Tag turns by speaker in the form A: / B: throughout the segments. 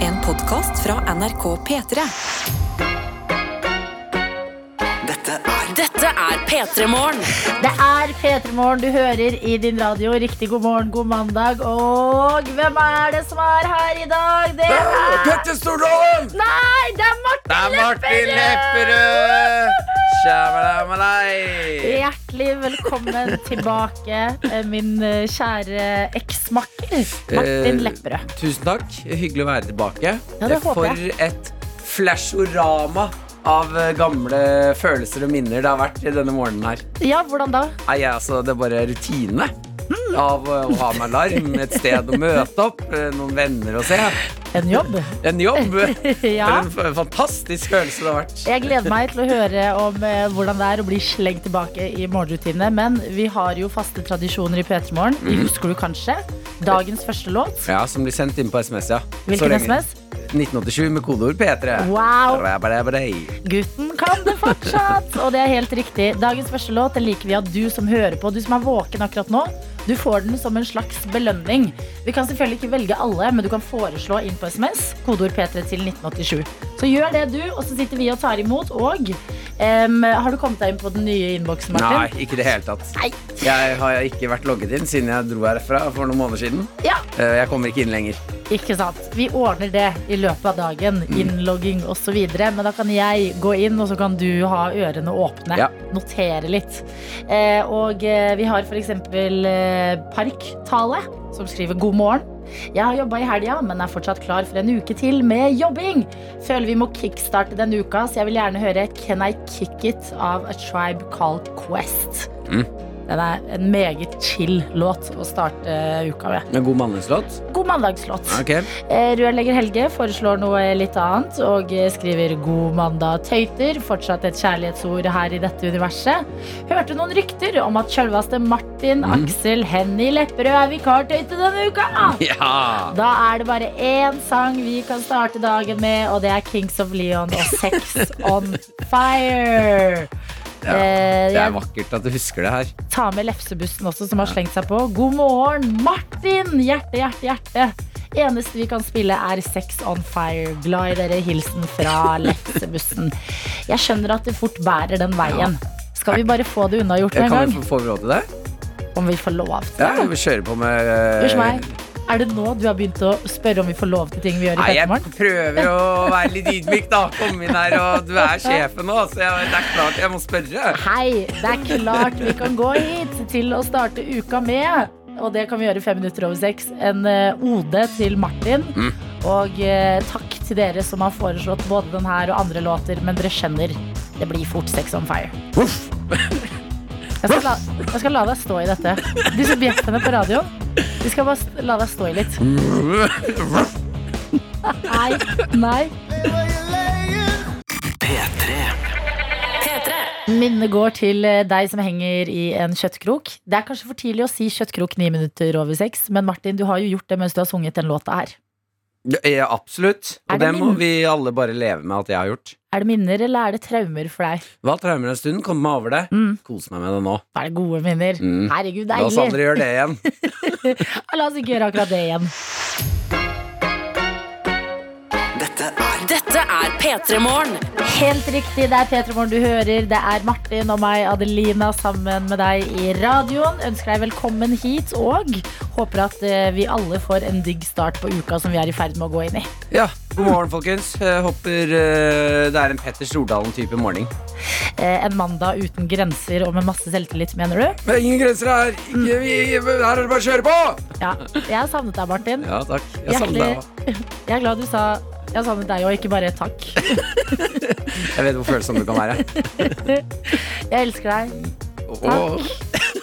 A: En podkast fra NRK P3.
B: Dette er
C: Dette er P3 Morgen.
D: Det er P3 Morgen du hører i din radio. Riktig god morgen, god mandag. Og hvem er det som er her i dag? Det er
B: Petter Stordalen!
D: Nei, det er
B: Det
D: Martin
B: er Martin Lepperød! Shabalamalai!
D: Hjertelig velkommen tilbake, eh, min eh, kjære eksmakker Martin Lepperød.
B: Tusen takk. Hyggelig å være tilbake.
D: Ja, det håper
B: For et flashorama av eh, gamle følelser og minner det har vært i denne morgenen her.
D: Ja, hvordan da?
B: Nei, jeg, altså, det er bare rutine
D: Hmm.
B: av eh, å ha med alarm, et sted å møte opp, eh, noen venner å se.
D: En jobb?
B: En jobb. For
D: Ja.
B: en f- fantastisk følelse det har vært.
D: Jeg gleder meg til å høre om eh, hvordan det er å bli slengt tilbake i morgenrutinene. Men vi har jo faste tradisjoner i P3 Morgen. Vi Husker du kanskje dagens første låt?
B: Ja, Som blir sendt inn på SMS, ja. Så
D: Hvilken
B: lenge-
D: SMS?
B: 1987 med kodeord P3.
D: Wow.
B: Rabadabadei.
D: Gutten kan det fortsatt! Og det er helt riktig. Dagens første låt den liker vi at du som hører på, du som er våken akkurat nå, du får den som en slags belønning. Vi kan selvfølgelig ikke velge alle, men du kan foreslå inn på SMS. Kodeord P3 til 1987. Så gjør det du, og så sitter vi og tar imot. Og em, har du kommet deg inn på den nye innboksen,
B: Nei,
D: Martin?
B: ikke i det hele tatt.
D: Nei.
B: Jeg har ikke vært logget inn siden jeg dro herfra for noen måneder siden.
D: Ja,
B: Eh, Jeg kommer ikke inn lenger.
D: ikke sant. Vi ordner det i løpet av dagen.
B: Mm.
D: Innlogging osv. Men da kan jeg gå inn, og så kan du ha ørene åpne.
B: Ja.
D: Notere litt. Eh, og eh, vi har f.eks. Eh, Parktale, som skriver 'God morgen'. Jeg har jobba i helga, men er fortsatt klar for en uke til med jobbing. Føler vi må kickstarte denne uka, så jeg vil gjerne høre 'Can I Kick It' av A Tribe Called Quest.
B: Mm.
D: Den er en meget chill låt å starte eh, uka med.
B: Med god mandelslåt.
D: God mandagslåt.
B: Ok.
D: Eh, Rørlegger Helge foreslår noe litt annet og eh, skriver 'God mandag, tøyter'. Fortsatt et kjærlighetsord her i dette universet. Hørte noen rykter om at sjølveste Martin
B: Mm.
D: Aksel Henny Lepperød er vikartøyte denne uka. Ah!
B: Ja!
D: Da er det bare én sang vi kan starte dagen med, og det er Kings of Leon og Sex on Fire.
B: Ja,
D: Eh,
B: Det er
D: jeg
B: vakkert at du husker det her.
D: Ta med lefsebussen også, som har slengt seg på. God morgen, Martin! Hjerte, hjerte, hjerte. Eneste vi kan spille, er Sex on Fire. Glad i dere. Hilsen fra lefsebussen. Jeg skjønner at det fort bærer den veien. Skal vi bare få det unnagjort med en
B: Kan
D: gang?
B: vi få, får vi råd til det?
D: Om vi får lov til
B: Ja,
D: det?
B: vi kjører på med
D: Hysj
B: eh,
D: meg. Er det nå du har begynt å spørre om vi får lov til ting vi gjør i
B: Nei, jeg
D: Petermorgen?
B: prøver å være litt ydmyk, da. Kom inn her, og du er sjefen nå, så jeg, det er klart jeg må spørre.
D: Hei, det er klart vi kan gå hit til å starte uka med. Og det kan vi gjøre fem minutter over seks. En eh, ode til Martin. Og eh, takk til dere som har foreslått både den her og andre låter. Men dere skjønner, det blir fort Sex on Fire.
B: Uff.
D: Jeg skal, la, jeg skal la deg stå i dette. De subjektene på radioen, de skal bare st- la deg stå i litt. Nei, nei.
C: P3.
D: Minnet går til eh, deg som henger i en kjøttkrok. Det er kanskje for tidlig å si kjøttkrok ni minutter over seks, men Martin, du har jo gjort det mens du har sunget den låta her.
B: Ja, Ja, eh, absolutt.
D: Er
B: Og
D: det
B: det må
D: min-
B: vi alle bare leve med at jeg har gjort.
D: Er det minner, eller er det traumer for deg?
B: Hva traumer en stund? Kom meg over det.
D: Mm.
B: Kos meg med det nå.
D: Er det gode minner?
B: Mm.
D: Herregud,
B: La oss
D: deilig!
B: aldri gjøre det igjen.
D: La oss ikke gjøre akkurat det igjen.
B: Dette er
C: Dette er P3 Morgen.
D: Helt riktig, det er Petra Morgen du hører. Det er Martin og meg, Adelina, sammen med deg i radioen. Ønsker deg velkommen hit, og håper at eh, vi alle får en digg start på uka som vi er i ferd med å gå inn i.
B: Ja, god morgen, folkens. Jeg håper eh, det er en Petter Stordalen-type morgen.
D: Eh, En mandag uten grenser og med masse selvtillit, mener du?
B: Men ingen grenser her. Ikke, vi, her er det bare å kjøre på!
D: Ja, jeg har savnet deg, Martin.
B: Mm. Ja, takk. Jeg savner deg òg.
D: Jeg er glad du sa jeg har savnet deg og ikke bare takk.
B: Jeg vet hvor følsom du kan være.
D: Jeg elsker deg.
B: Åh.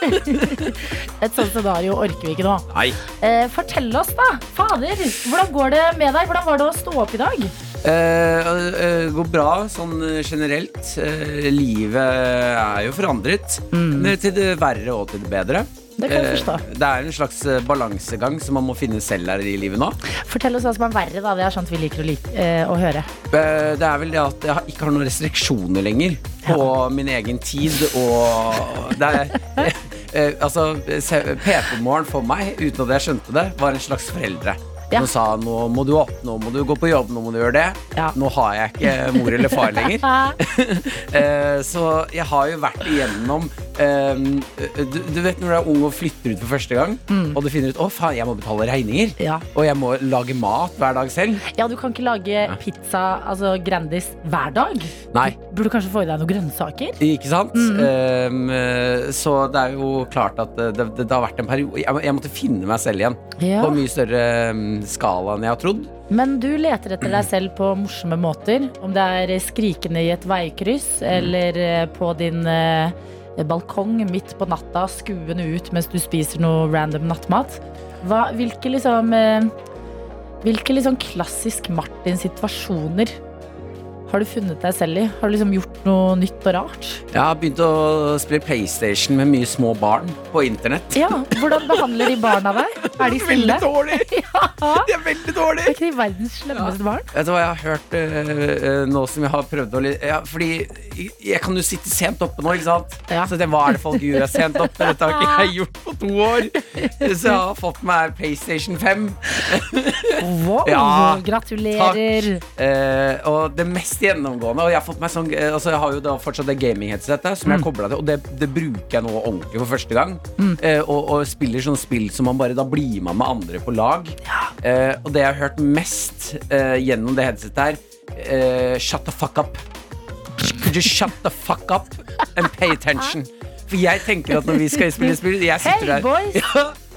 D: Et sånt scenario orker vi ikke nå.
B: Nei.
D: Eh, fortell oss, da. Fader, hvordan går det med deg? Hvordan var det å stå opp i dag?
B: Eh, eh, går bra sånn eh, generelt. Eh, livet er jo forandret. Men Til det verre og til Mm. det bedre.
D: Det kan jeg
B: Eh,
D: forstå.
B: det er en slags eh, balansegang som man må finne selv her i livet nå.
D: Fortell oss hva som er verre, da. Det er sånt vi liker å, like, eh, å høre.
B: Eh, Det er vel det at jeg har- ikke har noen restriksjoner lenger på min egen tid og det er, eh, Altså, se- PP-morgen for meg, uten at jeg skjønte det, var en slags foreldre.
D: Ja.
B: Som sa nå må du opp, nå må du gå på jobb, nå må du gjøre det.
D: Ja.
B: Nå har jeg ikke mor eller far lenger.
D: Ah,
B: Eh, så jeg har jo vært igjennom eh, du, du vet når du er ung og flytter ut for første gang,
D: Mm.
B: og du finner ut å faen, jeg må betale regninger.
D: ja.
B: Og jeg må lage mat hver dag selv.
D: ja, du kan ikke lage pizza, altså Grandis, hver dag.
B: Nei,
D: Burde du kanskje få i deg noen grønnsaker?
B: ikke sant?
D: Mhm.
B: Eh, så det er jo klart at det, det, det har vært en periode Jeg, må- jeg måtte finne meg selv igjen.
D: Ja.
B: På mye større eh, skala enn jeg har trodd.
D: Men du leter etter deg selv på morsomme måter. Om det er skrikende i et veikryss, eller eh, på din eh, balkong midt på natta, skuende ut mens du spiser noe random nattmat. Hva, hvilke liksom eh, Hvilke liksom klassisk Martin-situasjoner har du funnet deg selv i? Har du liksom gjort noe nytt og rart?
B: Jeg har begynt å spille PlayStation med mye små barn på internett.
D: Ja, Hvordan behandler de barna deg? Er de snille?
B: dårlig! De er veldig dårlige!
D: Er ikke de verdens slemmeste barn?
B: Vet du hva jeg har hørt eh, eh, nå som jeg har prøvd å li- ja, Fordi jeg- jeg kan jo sitte sent oppe nå, ikke sant?
D: Ja.
B: Så det, hva er det folk gjør sent oppe? Dette har ikke jeg gjort på to år. Så jeg har fått meg PlayStation 5.
D: Wow,
B: Ja,
D: gratulerer.
B: Eh, og det mest gjennomgående Og jeg har fått meg sånn eh, Altså jeg har jo da fortsatt det gaming-headsetet som jeg kobla til, og det, det bruker jeg nå ordentlig for første gang. Eh, og, og spiller sånne spill som man bare da blir med med andre på lag. Eh, og det jeg har hørt mest eh, gjennom det headsetet her, eh, shut the fuck up. Could you shut the fuck up and pay attention? For jeg tenker at når vi skal spille spill Jeg
D: Hey,
B: sitter der
D: boys.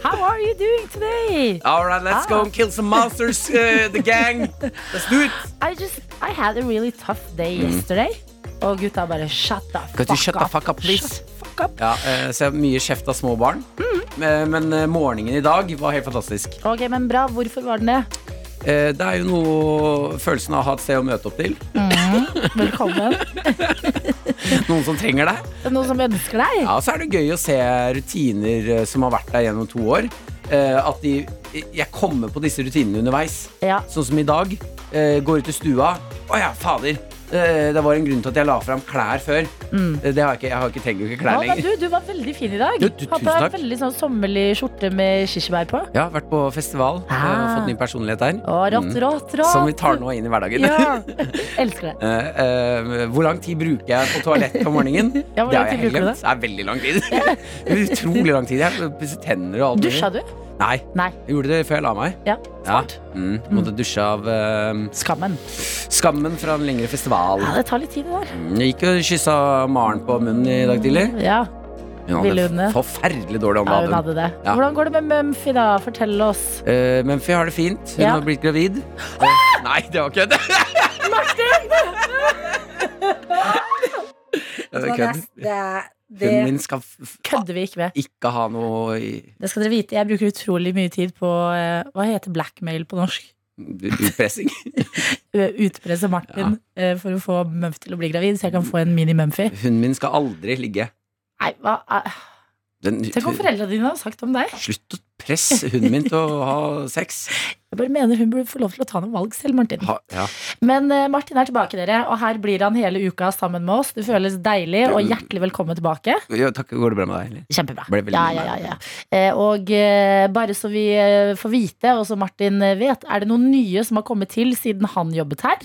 D: How are you doing today?
B: All right, let's go and kill some monsters, eh, the gang. Let's do it.
D: I just I had a really tough day yesterday. Og gutta bare shut the fuck
B: Could you
D: up.
B: Mm. shut the fuck up, please?
D: Shut the fuck up.
B: Ja, eh, så jeg har mye kjeft av små barn.
D: Mhm.
B: Eh, Men eh, morgenen i dag var helt fantastisk.
D: Ok, men bra. Hvorfor var den det?
B: Eh, Det er jo noe følelsen av å ha et sted å møte opp til.
D: Velkommen.
B: Noen som trenger deg.
D: Det er noen som ønsker deg?
B: Ja, så er det gøy å se rutiner eh, som har vært der gjennom to år. Eh, At de, jeg kommer på disse rutinene underveis.
D: Ja.
B: Sånn som i dag. eh, Går ut i stua. Å ja, fader. eh, Det var en grunn til at jeg la fram klær før. Eh, Det har jeg ikke, jeg har ikke trenger jo ikke
D: Ja,
B: klær
D: men
B: lenger.
D: du, du Mm. var veldig fin i dag.
B: Jo, du,
D: Hadde
B: tusen takk.
D: en veldig sånn sommerlig skjorte med kirsebær på.
B: Jeg har vært på festival eh, og
D: Ah.
B: fått ny personlighet her.
D: Å, rått, rått, rått.
B: Mm. Som vi tar nå inn i hverdagen.
D: Ja. Elsker det.
B: Eh, eh, hvor lang tid bruker jeg på toalett om morgenen?
D: Ja, hvor
B: det
D: lang
B: har jeg
D: tid
B: helt
D: bruker du
B: glemt. Det er veldig lang tid. Utrolig lang tid. Jeg pusser tenner og alt. mulig.
D: Dusja du?
B: Nei.
D: Nei.
B: Jeg gjorde det før jeg la meg.
D: Ja.
B: Ja.
D: Smart.
B: Mm. Måtte dusje av eh,
D: Skammen.
B: skammen fra en lengre festival.
D: Ja, det tar litt tid, det der.
B: Mm, Jeg gikk og kyssa Maren på munnen i dag tidlig.
D: Ja,
B: Hun
D: Ville
B: hadde
D: hun det?
B: forferdelig
D: ja,
B: dårlig
D: hun
B: ånde.
D: hadde det.
B: Ja.
D: Hvordan går det med Mumphy, da? Fortell oss.
B: Uh, Mumphy har det fint. Hun
D: Ja.
B: har blitt gravid. Eh, nei, det var kødd! Martin! det er kødd. Hunden min skal f- f-
D: kødder vi ikke med.
B: ikke ha noe i-
D: Det skal dere vite, Jeg bruker utrolig mye tid på eh, hva heter blackmail på norsk?
B: utpressing.
D: Ø, Utpresse Martin eh, for å få Mumphy til å bli gravid, så jeg kan få en mini-Mumphy.
B: Hunden min skal aldri ligge.
D: Nei, hva er-
B: Den,
D: Tenk om foreldrene dine har sagt om deg.
B: Slutt å presse hunden min til å ha sex.
D: Jeg bare mener hun burde få lov til å ta noen valg selv, Martin.
B: Ha, ja.
D: Men eh, Martin er tilbake, dere, og her blir han hele uka sammen med oss. Det føles deilig, og hjertelig velkommen tilbake.
B: Jo, takk, går det bra med deg? Eller?
D: Kjempebra.
B: Ble veldig
D: Ja, ja, ja, ja. Eh, Og eh, bare så vi eh, får vite, og så Martin eh, vet, er det noen nye som har kommet til siden han jobbet her?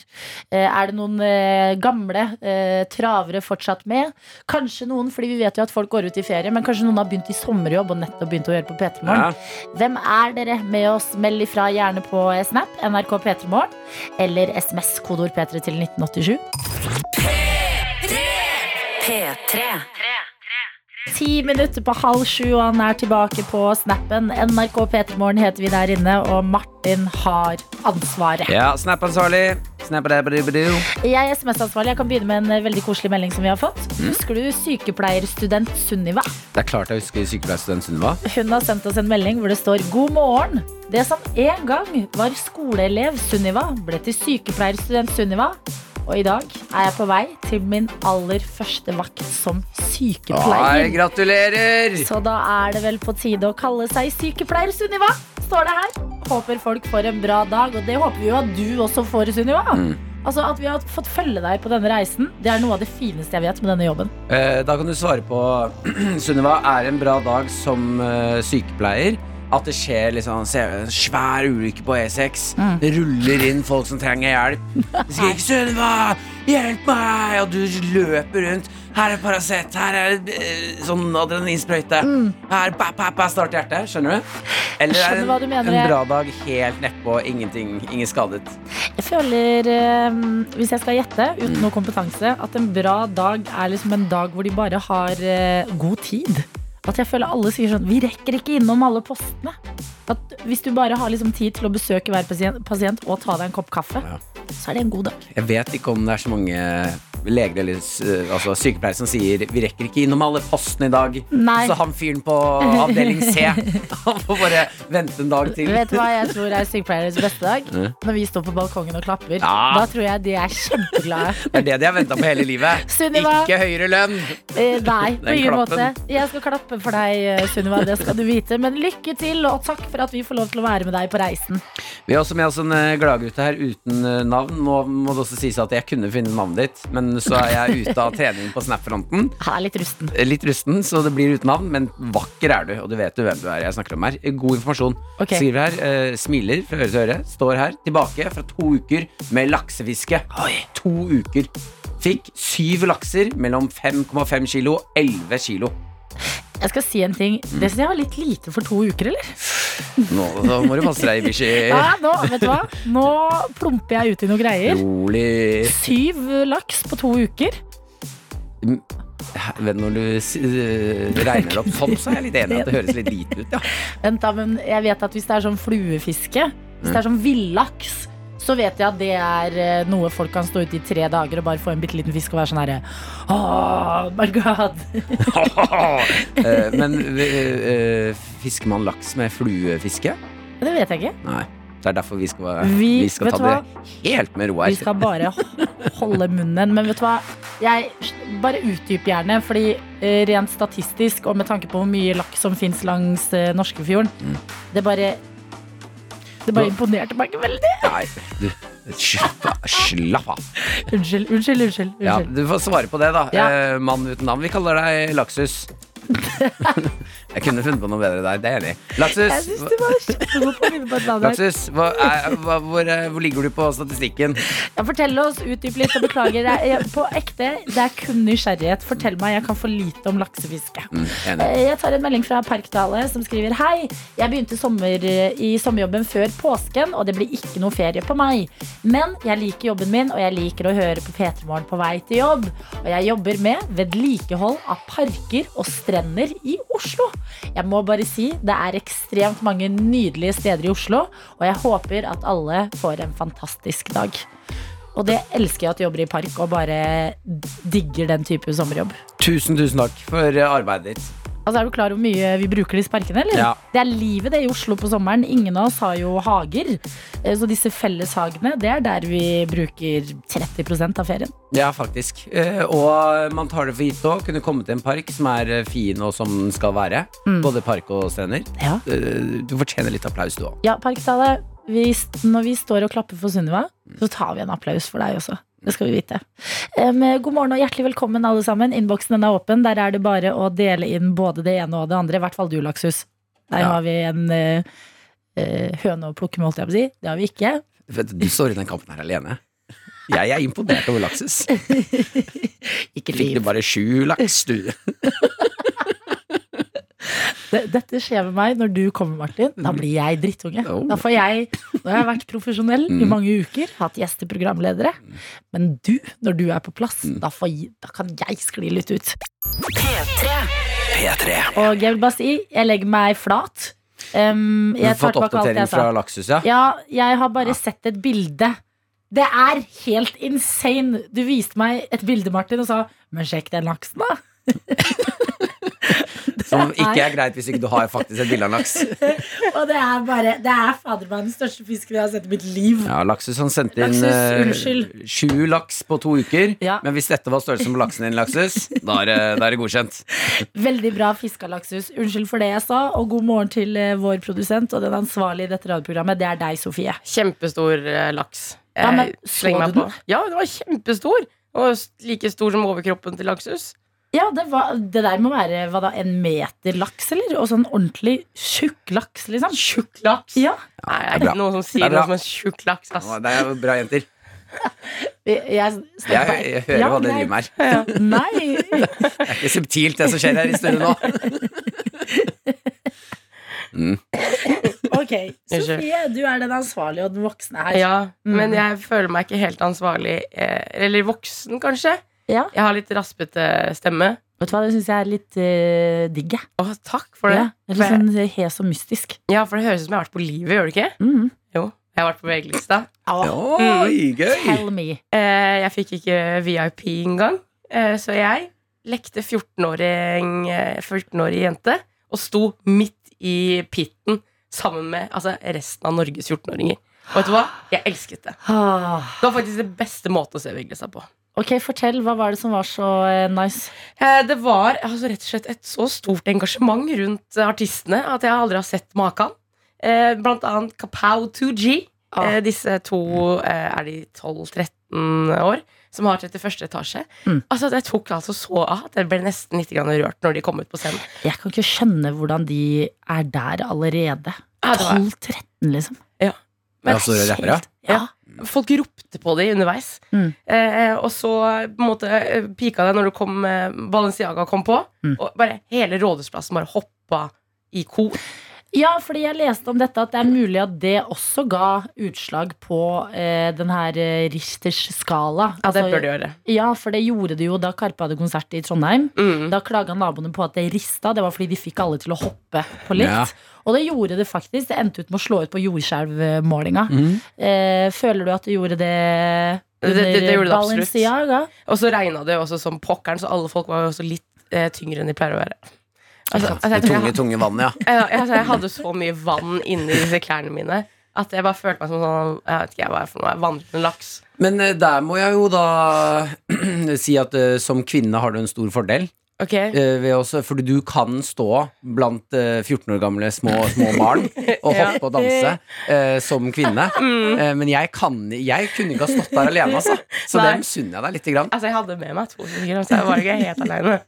D: Eh, Er det noen eh, gamle eh, travere fortsatt med? Kanskje noen, fordi vi vet jo at folk går ut i ferie, men kanskje noen har begynt i sommerjobb og nettopp begynt å gjøre på P3 Morgen.
B: Ja.
D: Hvem er dere med oss? Meld ifra gjerne på Snap, NRK P3morgen, eller SMS, kodeord P3 til 1987.
C: P3.
D: Ti minutter på halv sju, og han er tilbake på Snappen. NRK P3morgen heter vi der inne, og Martin har ansvaret.
B: ja, snap-ansvarlig. Snap-a-da-ba-du-ba-du.
D: Jeg er SMS-ansvarlig. Jeg kan begynne med en eh, veldig koselig melding som vi har fått.
B: Mm.
D: Husker du sykepleierstudent Sunniva?
B: Det er klart jeg husker sykepleierstudent Sunniva.
D: Hun har sendt oss en melding hvor det står God morgen. Det som en gang var skoleelev Sunniva, ble til sykepleierstudent Sunniva. Og i dag er jeg på vei til min aller første vakt som
B: Nei,
D: sykepleier.
B: gratulerer!
D: Så da er det vel på tide å kalle seg sykepleier Sunniva, står det her. Håper folk får en bra dag, og det håper vi jo at du også får, Sunniva. Altså At vi har fått følge deg på denne reisen, det er noe av det fineste jeg vet med denne jobben.
B: Eh, Da kan du svare på Sunniva er en bra dag som eh, sykepleier. at det skjer liksom, se- en svær ulykke på E6.
D: Mm.
B: Det ruller inn folk som trenger hjelp. De skriker 'Sunniva, hjelp meg!' Og du løper rundt. Her er Paracet, her er eh, sånn adrenalinsprøyte. Her bap, bap, bap, start hjertet. Skjønner du? Eller
D: Jeg Mm.
B: er
D: skjønner hva du
B: en,
D: mener,
B: en
D: jeg.
B: bra dag helt nedpå, ingenting, ingen skadet.
D: Jeg føler, eh, hvis jeg skal gjette, uten noe kompetanse, at en bra dag er liksom en dag hvor de bare har eh, god tid. At jeg føler alle sier sånn Vi rekker ikke innom alle postene. At hvis du bare har liksom tid til å besøke hver pasient, pasient og ta deg en kopp kaffe,
B: Ja.
D: så er det en god dag.
B: Jeg vet ikke om det er så mange leger eller s- altså, sykepleiere som sier 'vi rekker ikke innom alle postene i dag'.
D: Nei.
B: Så han fyren på avdeling C Han får bare vente en dag til.
D: Vet du hva jeg tror er sykepleieres beste dag? Når vi står på balkongen og klapper.
B: Ja.
D: Da tror jeg de er kjempeglade.
B: Det er det de har venta på hele livet.
D: Sunniva.
B: Ikke høyere lønn.
D: Eh, nei, på
B: Den
D: ingen måte.
B: klappen.
D: Jeg skal klappe for deg, eh, Sunniva. Det skal du vite. Men lykke til, og takk for at vi får lov til å være med deg på reisen.
B: Vi har også med oss en eh, gladgutt her uten eh, navn. Nå må det også sies at jeg kunne finne navnet ditt, men så er jeg ute av trening på Snap-fronten.
D: Han er litt rusten.
B: Eh, Litt rusten, så det blir uten navn, men vakker er du. Og du vet jo hvem du er. Jeg snakker om her. Eh, God informasjon.
D: Ok.
B: Skriver her. eh, smiler fra øre til øre. Står her tilbake fra to uker med laksefiske. To uker. Fikk syv lakser mellom 5,5 kilo og 11 kilo.
D: Jeg skal si en ting.
B: Mm.
D: Det syns jeg var litt lite for to uker, eller?
B: Nå så må du passe deg, Ibishi.
D: Ja, nå, vet du hva? Nå plumper jeg ut i noen greier.
B: Rolig.
D: Syv laks på to uker.
B: Mm, Hæ, men Når du s- øh, regner det opp sånn, så er jeg litt enig i at det høres litt lite ut. Ja.
D: Vent da, men jeg vet at hvis det er sånn fluefiske, hvis det er sånn villaks, så vet jeg at det er eh, noe folk kan stå ute i tre dager og bare få en bitte liten fisk og være sånn herre Oh my god.
B: Eh, Men øh, øh, fisker man laks med fluefiske?
D: Det vet jeg ikke.
B: Nei. Det er derfor vi skal,
D: Vi-
B: vi, skal
D: vet
B: ta
D: du hva?
B: det helt med ro her.
D: Vi skal bare holde munnen. Men vet du hva? Jeg bare utdyp gjerne, fordi eh, rent statistisk og med tanke på hvor mye laks som fins langs eh, norskefjorden, det bare Det bare imponerte meg ikke veldig.
B: Nei, du, slapp av. Slapp av.
D: Unnskyld, unnskyld, unnskyld.
B: Ja,
D: unnskyld.
B: du får svare på det, da.
D: Ja.
B: Eh, mann uten navn. Vi kaller deg Laksus. jeg kunne funnet på noe bedre der. Det er jeg enig i.
D: Jeg
B: Laksus,
D: syns du var kjempegod på å finne på et navn her.
B: Laksus hva, er, hva, hvor, eh, hvor ligger du på statistikken?
D: Ja, fortell oss, utdyp litt og beklager. Jeg, jeg, på ekte, det er kun nysgjerrighet. Fortell meg, jeg kan for lite om laksefiske.
B: Mm, enig.
D: Eh, Jeg tar en melding fra Parkdale som skriver Hei, jeg begynte sommer, eh, i sommerjobben før påsken Og det blir ikke noe ferie på meg Men jeg liker jobben min Og jeg liker å høre på Petremorgen på vei til jobb Og jeg jobber med vedlikehold av parker og strender i Oslo Jeg må bare si Det er ekstremt mange nydelige steder i Oslo Og jeg håper at alle får en fantastisk dag Og det elsker jeg at jeg jobber i park Og bare digger den type sommerjobb
B: Tusen, tusen takk for eh, arbeidet ditt.
D: Altså, Er du klar over hvor mye vi bruker de sparkene? eller?
B: Ja.
D: Det er livet det i Oslo på sommeren. Ingen av oss har jo hager. Eh, Så disse felleshagene, det er der vi bruker 30 av ferien.
B: Ja, faktisk. Eh, og man tar det for gitt òg. Kunne komme til en park som er eh, fin og som den skal være.
D: Mm.
B: Både park og strender.
D: Ja,
B: Eh, du fortjener litt applaus, du òg.
D: ja Parkdale, vi, når vi står og klapper for Sunniva, så tar vi en applaus for deg også. Det skal vi vite. Em, god morgen og hjertelig velkommen, alle sammen. Innboksen den er åpen. Der er det bare å dele inn både det ene og det andre. I hvert fall du, Laksus. Der
B: Ja.
D: har vi en eh, eh, høne å plukke med, holdt jeg på å si. Det har vi ikke.
B: Du står i den kampen her alene. Jeg er imponert over laksis.
D: Ikke
B: Fikk
D: liv.
B: du bare sju laks, du?
D: Det- Dette skjer med meg når du kommer, Martin. Da blir jeg drittunge.
B: Mm. Oh. Mm.
D: Da får jeg, Nå har jeg vært profesjonell i mange uker, hatt gjesteprogramledere. Men du, når du er på plass,
B: Mm.
D: da, får, jeg- da kan jeg skli litt ut.
B: P3.
D: Og jeg vil bare si, jeg legger meg flat. Um,
B: Du
D: jeg tar
B: har fått
D: tilbake alt
B: oppdatering
D: jeg
B: fra
D: sa.
B: laksus, ja?
D: Ja, jeg har bare sett et bilde. Det er helt insane! Du viste meg et bilde, Martin, og sa 'men sjekk den laksen', da.
B: Som ikke er greit hvis ikke du har faktisk et bilde av en laks.
D: Og det er bare Det er fader meg den største fisken jeg har sett i mitt liv.
B: Ja, Laksus han sendte inn
D: Laksus,
B: eh,
D: unnskyld.
B: sju laks på to uker.
D: Ja.
B: Men hvis dette var størrelsen på laksen din, Laksus, da er det, da er det godkjent.
D: Veldig bra fiska, Laksus. Unnskyld for det jeg sa, og god morgen til eh, vår produsent og den ansvarlige i dette radioprogrammet. Det er deg, Sofie.
E: Kjempestor eh, laks.
D: Ja, men
E: Jeg
D: så
E: slenger meg
D: du
E: på. Ja, den var kjempestor. Og s- like stor som overkroppen til Laksus.
D: Ja, det, var, det der må være hva da, en meter laks, eller? Og sånn ordentlig tjukk laks, liksom.
E: Tjukk laks?
D: Ja.
E: Nei,
B: Det
E: det er
B: er bra.
E: ikke noen som
B: Det
E: sier
B: er bra.
E: noe som en tjukk laks, ass.
B: Å, Det er jo bra jenter.
D: Jeg, jeg,
B: Jeg, jeg hører hva dere driver med her.
D: med. Nei.
B: Det er ikke subtilt, det som skjer her i studio nå.
D: Ok.
E: Unnskyld.
D: Sofie, du er den ansvarlige og den voksne her.
E: Ja, men
D: Mm.
E: jeg føler meg ikke helt ansvarlig. eh, Eller voksen, kanskje.
D: Ja.
E: Jeg har litt raspete stemme.
D: Vet du hva, det syns jeg er litt eh, digg, jeg.
E: Å, takk for det.
D: Ja, litt
E: For jeg-
D: sånn hes og mystisk.
E: Ja, for det høres ut som jeg har vært på livet, gjør det ikke?
D: Mm.
E: Jo, jeg har vært på VG-lista.
B: Oi, gøy!
D: Tell me.
E: Eh, Jeg fikk ikke VIP engang, eh, så jeg lekte 14-åring, eh, 14-årig jente og sto midt i pitten sammen med altså, resten av Norges 14-åringer. Og vet du hva? Jeg elsket det. Det var faktisk det beste måten å se VG-lista på.
D: Ah. Ok, fortell. Hva var det som var så eh, nice?
E: Eh, Det var altså, rett og slett et så stort engasjement rundt eh, artistene at jeg aldri har sett maken. Eh, Blant annet Kapow 2G.
D: Ah.
E: Eh, Disse to eh, er de 12-13 år, som har 31. etasje.
D: Mm.
E: Altså, Det tok altså så av at jeg ble nesten litt grann rørt når de kom ut på scenen.
D: Jeg kan ikke skjønne hvordan de er der allerede.
E: Ja, det var-
D: 12-13, liksom.
E: Men-
B: Ja, så er det rappere.
E: Ja. Folk ropte på det underveis.
D: Mm.
E: Eh, og så på en måte eh, pika det når det kom, eh, Balenciaga kom på.
D: Mm.
E: Og bare hele Rådhusplassen bare hoppa i kor.
D: Ja, fordi jeg leste om dette at det er mulig at det også ga utslag på eh, den her eh, Richters skala.
E: Ja, det
D: Altså,
E: bør de gjøre.
D: Ja, for det gjorde det jo da Karpe hadde konsert i Trondheim.
E: Mm.
D: Da klaga naboene på at det rista. Det var fordi de fikk alle til å hoppe på likt.
B: Ja.
D: Og det gjorde det faktisk. Det endte ut med å slå ut på jordskjelvmålinga.
B: Mm.
D: Eh, føler du at det gjorde det
E: Det- det- det gjorde det absolutt.
D: Balenciaga?
E: Og så regna det jo også som pokkeren, så alle folk var jo også litt eh, tyngre enn de pleier å være. Altså, altså,
B: Det
E: jeg, tror jeg,
B: tunge, tunge vannet, ja.
E: jeg, altså, jeg hadde så mye vann inni disse klærne mine at jeg bare følte meg som sånn Jeg vet ikke jeg hva er for noe, vandrende laks.
B: Men eh, der må jeg jo da si at eh, som kvinne har du en stor fordel.
E: Ok,
B: Eh, ved også, fordi du kan stå blant eh, 14 år gamle små, små barn og
E: Ja. Mm.
B: hoppe og danse eh, som kvinne. Eh, men jeg, kan, jeg kunne ikke ha stått der alene, altså. Så
E: Nei.
B: det misunner jeg deg lite grann.
E: Altså, jeg hadde med meg to stykker, så jeg var ikke helt aleine.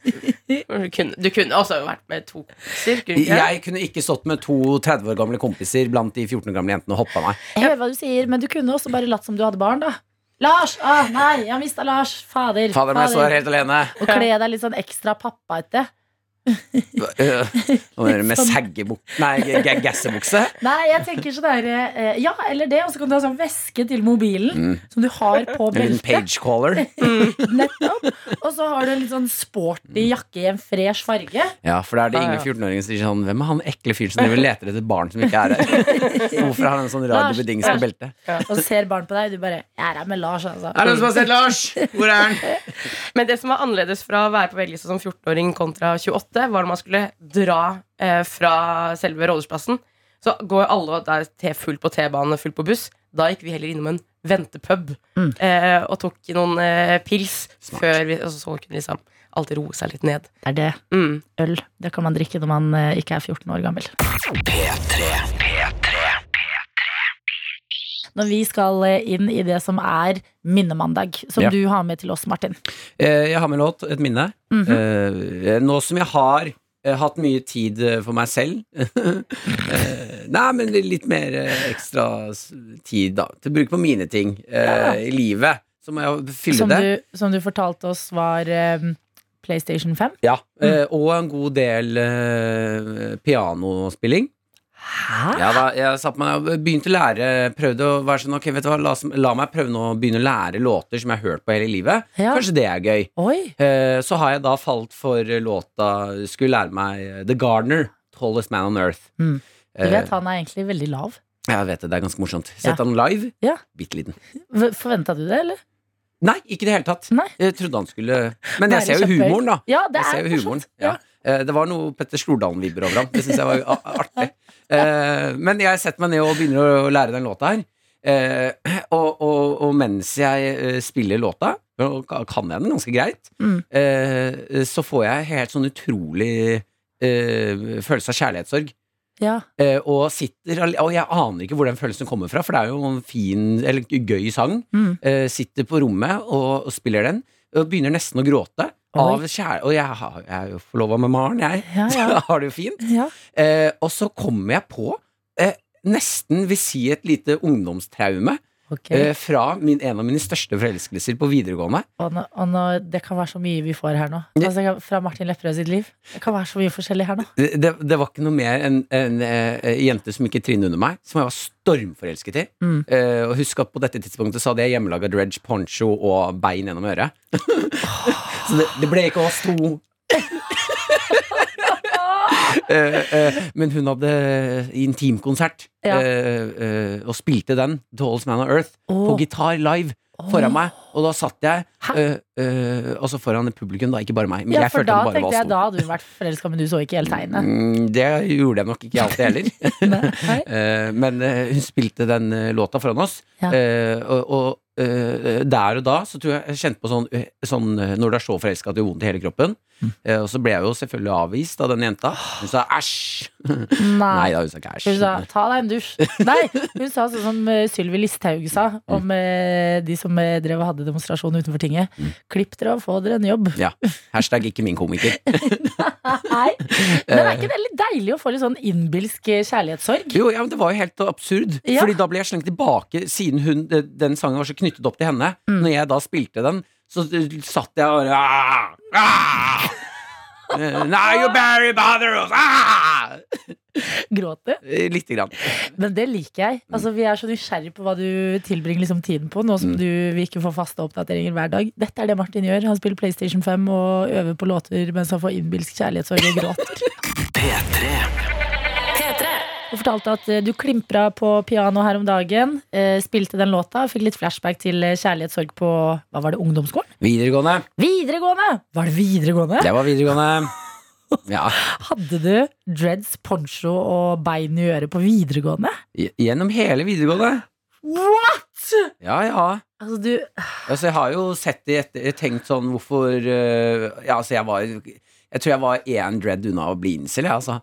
E: Du kunne, du kunne også vært med to kompiser. kunne du ikke?
B: Jeg kunne ikke stått med to 30 år gamle kompiser blant de 14 år gamle jentene og hoppa, nei.
D: Jeg hører hva du sier, men du kunne også bare latt som du hadde barn, da. Lars! Ah, nei, jeg mista Lars! Fader.
B: Fader, men jeg står her helt alene.
D: Og kle deg litt sånn ekstra pappaete.
B: Øh, Hva mener du med saggebukse Nei, ga- gassebukse?
D: Nei, jeg tenker sånn der eh, Ja, eller det, og så kan du ha sånn veske til mobilen som du har på
B: Mm. En liten
D: beltet.
B: pagecaller?
D: Nettopp. Og så har du en litt sånn sporty jakke i en fresh farge.
B: Ja, for da er det
E: Ja,
B: ingen
E: ja.
B: 14-åringer som sier sånn Hvem er han ekle fyren som driver og leter etter barn som ikke er her? Hvorfor har han en sånn rar
D: Lars,
B: dubbedings på beltet?
D: Og ser barn på deg, og du bare Jeg er her med Lars, altså.
B: Er det noen som har sett Lars? Hvor er han?
E: Men det som var annerledes fra å være på VG-lista som 14-åring kontra 28, var når man skulle dra eh, fra selve Rådhusplassen. Så går alle der te- full på T-bane, full på buss. Da gikk vi heller innom en ventepub
D: Mm.
E: eh, og tok noen eh, pils
B: Smart.
E: før vi og Så kunne vi liksom alltid roe seg litt ned.
D: Det er det.
E: Mm.
D: Øl. Det kan man drikke når man eh, ikke er 14 år gammel. Når vi skal eh, inn i det som er minnemandag, som
B: Ja.
D: du har med til oss, Martin.
B: Eh, Jeg har med en låt, et minne.
D: Mhm.
B: Eh, Nå som jeg har eh, hatt mye tid eh, for meg selv eh, Nei, men litt mer eh, ekstra s- tid da til bruk på mine ting eh, i livet. Så må jeg fylle
D: Som
B: det.
D: du, som du fortalte oss var eh, PlayStation 5.
B: Ja, eh, og en god del eh, pianospilling.
D: Hæ?
B: Ja, da, jeg satt meg og begynte å lære Prøvde å være sånn, ok, vet du hva La, la meg prøve nå å begynne å lære låter som jeg har hørt på hele livet
D: Ja.
B: Kanskje det er gøy
D: Oi!
B: Eh, Så har jeg da falt for låta Skulle lære meg eh, The Gardener Tallest Man on Earth
D: Mm. Du
B: Eh,
D: vet, han er egentlig veldig lav.
B: Jeg vet det, det er ganske morsomt
D: Ja.
B: Sett han live,
D: Ja.
B: bitteliten
D: Forventa du det, eller?
B: Nei, ikke i det hele tatt
D: Nei.
B: Jeg trodde han skulle Men jeg
D: Være
B: ser jo
D: kjempehøy.
B: humoren da
D: Ja, det
B: Jeg ser
D: er
B: jo humoren.
D: morsomt.
B: Ja. Eh, Det var noe Petter Stordalen-vibber over ham. Det syns jeg var a- artig. Eh, Men jeg setter meg ned og begynner å lære den låta her. Eh, Og, og, og mens jeg eh, spiller låta, og ka- kan jeg den ganske greit,
D: Mm.
B: eh, så får jeg helt sånn utrolig eh, følelse av kjærlighetssorg.
D: Ja.
B: eh, og sitter al- Og jeg aner ikke hvor den følelsen kommer fra, for det er jo en fin, eller gøy sang.
D: Mm.
B: Eh, sitter på rommet og, og spiller den, og begynner nesten å gråte.
D: Oi.
B: Av kjære, og jeg, har- jeg er jo forlova med Maren, jeg.
D: Ja,
B: Så
D: ja.
B: jeg har det jo fint.
D: ja.
B: Eh, og så kommer jeg på eh, nesten vil si et lite ungdomstraume
D: Ok.
B: eh, fra min, en av mine største forelskelser på videregående.
D: Og, nå, og nå, det kan være så mye vi får her nå. Altså, jeg kan- fra Martin Lepperød sitt liv. Det kan være så mye forskjellig her nå.
B: Det, det, det var ikke noe mer enn en, eh, jente som gikk i trinnet under meg, som jeg var stormforelsket i.
D: Mm.
B: Eh, og husk at på dette tidspunktet så hadde jeg hjemmelaga dredge poncho og bein gjennom øret. så det, det ble ikke oss to. Eh, eh, men hun hadde intimkonsert
D: Ja.
B: eh, eh, og spilte den, The Old Man on Earth, på
D: Åh.
B: gitar live foran meg. Og da satt jeg,
D: Hæ?
B: eh, eh, altså foran publikum, da, ikke bare meg. Men
D: Ja,
B: jeg
D: for
B: følte
D: da
B: det bare
D: tenkte
B: var
D: jeg
B: oss
D: da
B: to.
D: hadde hun vært forelska, men du så ikke hele tegnet.
B: Mm, det gjorde jeg nok ikke alltid heller.
D: Nei.
B: Eh, men eh, hun spilte den eh, låta foran oss,
D: Ja.
B: eh, og, og eh, der og da så tror jeg jeg kjente på sånn, eh, sånn eh, Når du er så forelska at du har vondt i hele kroppen.
D: Mm.
B: Eh, og så ble jeg jo selvfølgelig avvist av den jenta. Hun sa æsj! Nei
D: Nei.
B: da, hun sa
D: Ah.
B: ikke
D: Hun sa
B: æsj.
D: 'ta deg en dusj'. Nei, hun sa sånn som eh, Sylvi Listhaug sa
B: Mm.
D: om eh, de som eh, drev og hadde demonstrasjon utenfor Tinget.
B: Mm.
D: Klipp dere og få dere en jobb.
B: Ja. Hashtag ikke min komiker.
D: Nei. Men er ikke det litt deilig å få litt sånn innbilsk eh, kjærlighetssorg?
B: Jo, ja, men Det var jo helt absurd.
D: Ja.
B: Fordi da ble jeg slengt tilbake, siden hun, eh, den sangen var så knyttet opp til henne. Når jeg da spilte den, så eh, satt jeg og ah, ah! Eh, Now you bury bother us! Ah!
D: Gråt du?
B: Eh, Lite grann.
D: Men det liker jeg.
B: Mm.
D: Altså, vi er så nysgjerrig på hva du tilbringer liksom, tiden på, nå
B: Mm.
D: som du, vi ikke får faste oppdateringer hver dag. Dette er det Martin gjør. Han spiller PlayStation 5 og øver på låter mens han får innbilsk kjærlighetssorg og gråter.
C: P3.
D: Og fortalte at eh, du klimpra på piano her om dagen, eh, spilte den låta og fikk litt flashback til eh, kjærlighetssorg på hva var det, ungdomsskolen?
B: Videregående.
D: Videregående! Var det videregående?
B: Det var videregående. Ja.
D: Hadde du dreads, poncho og bein i øret på videregående?
B: Gj- Gjennom hele videregående. What?! Ja, ja.
D: Altså, du
B: Altså, jeg har jo sett det etter Tenkt sånn hvorfor eh, Ja, altså, jeg var Jeg tror jeg var én dread unna å bli incel, jeg, altså.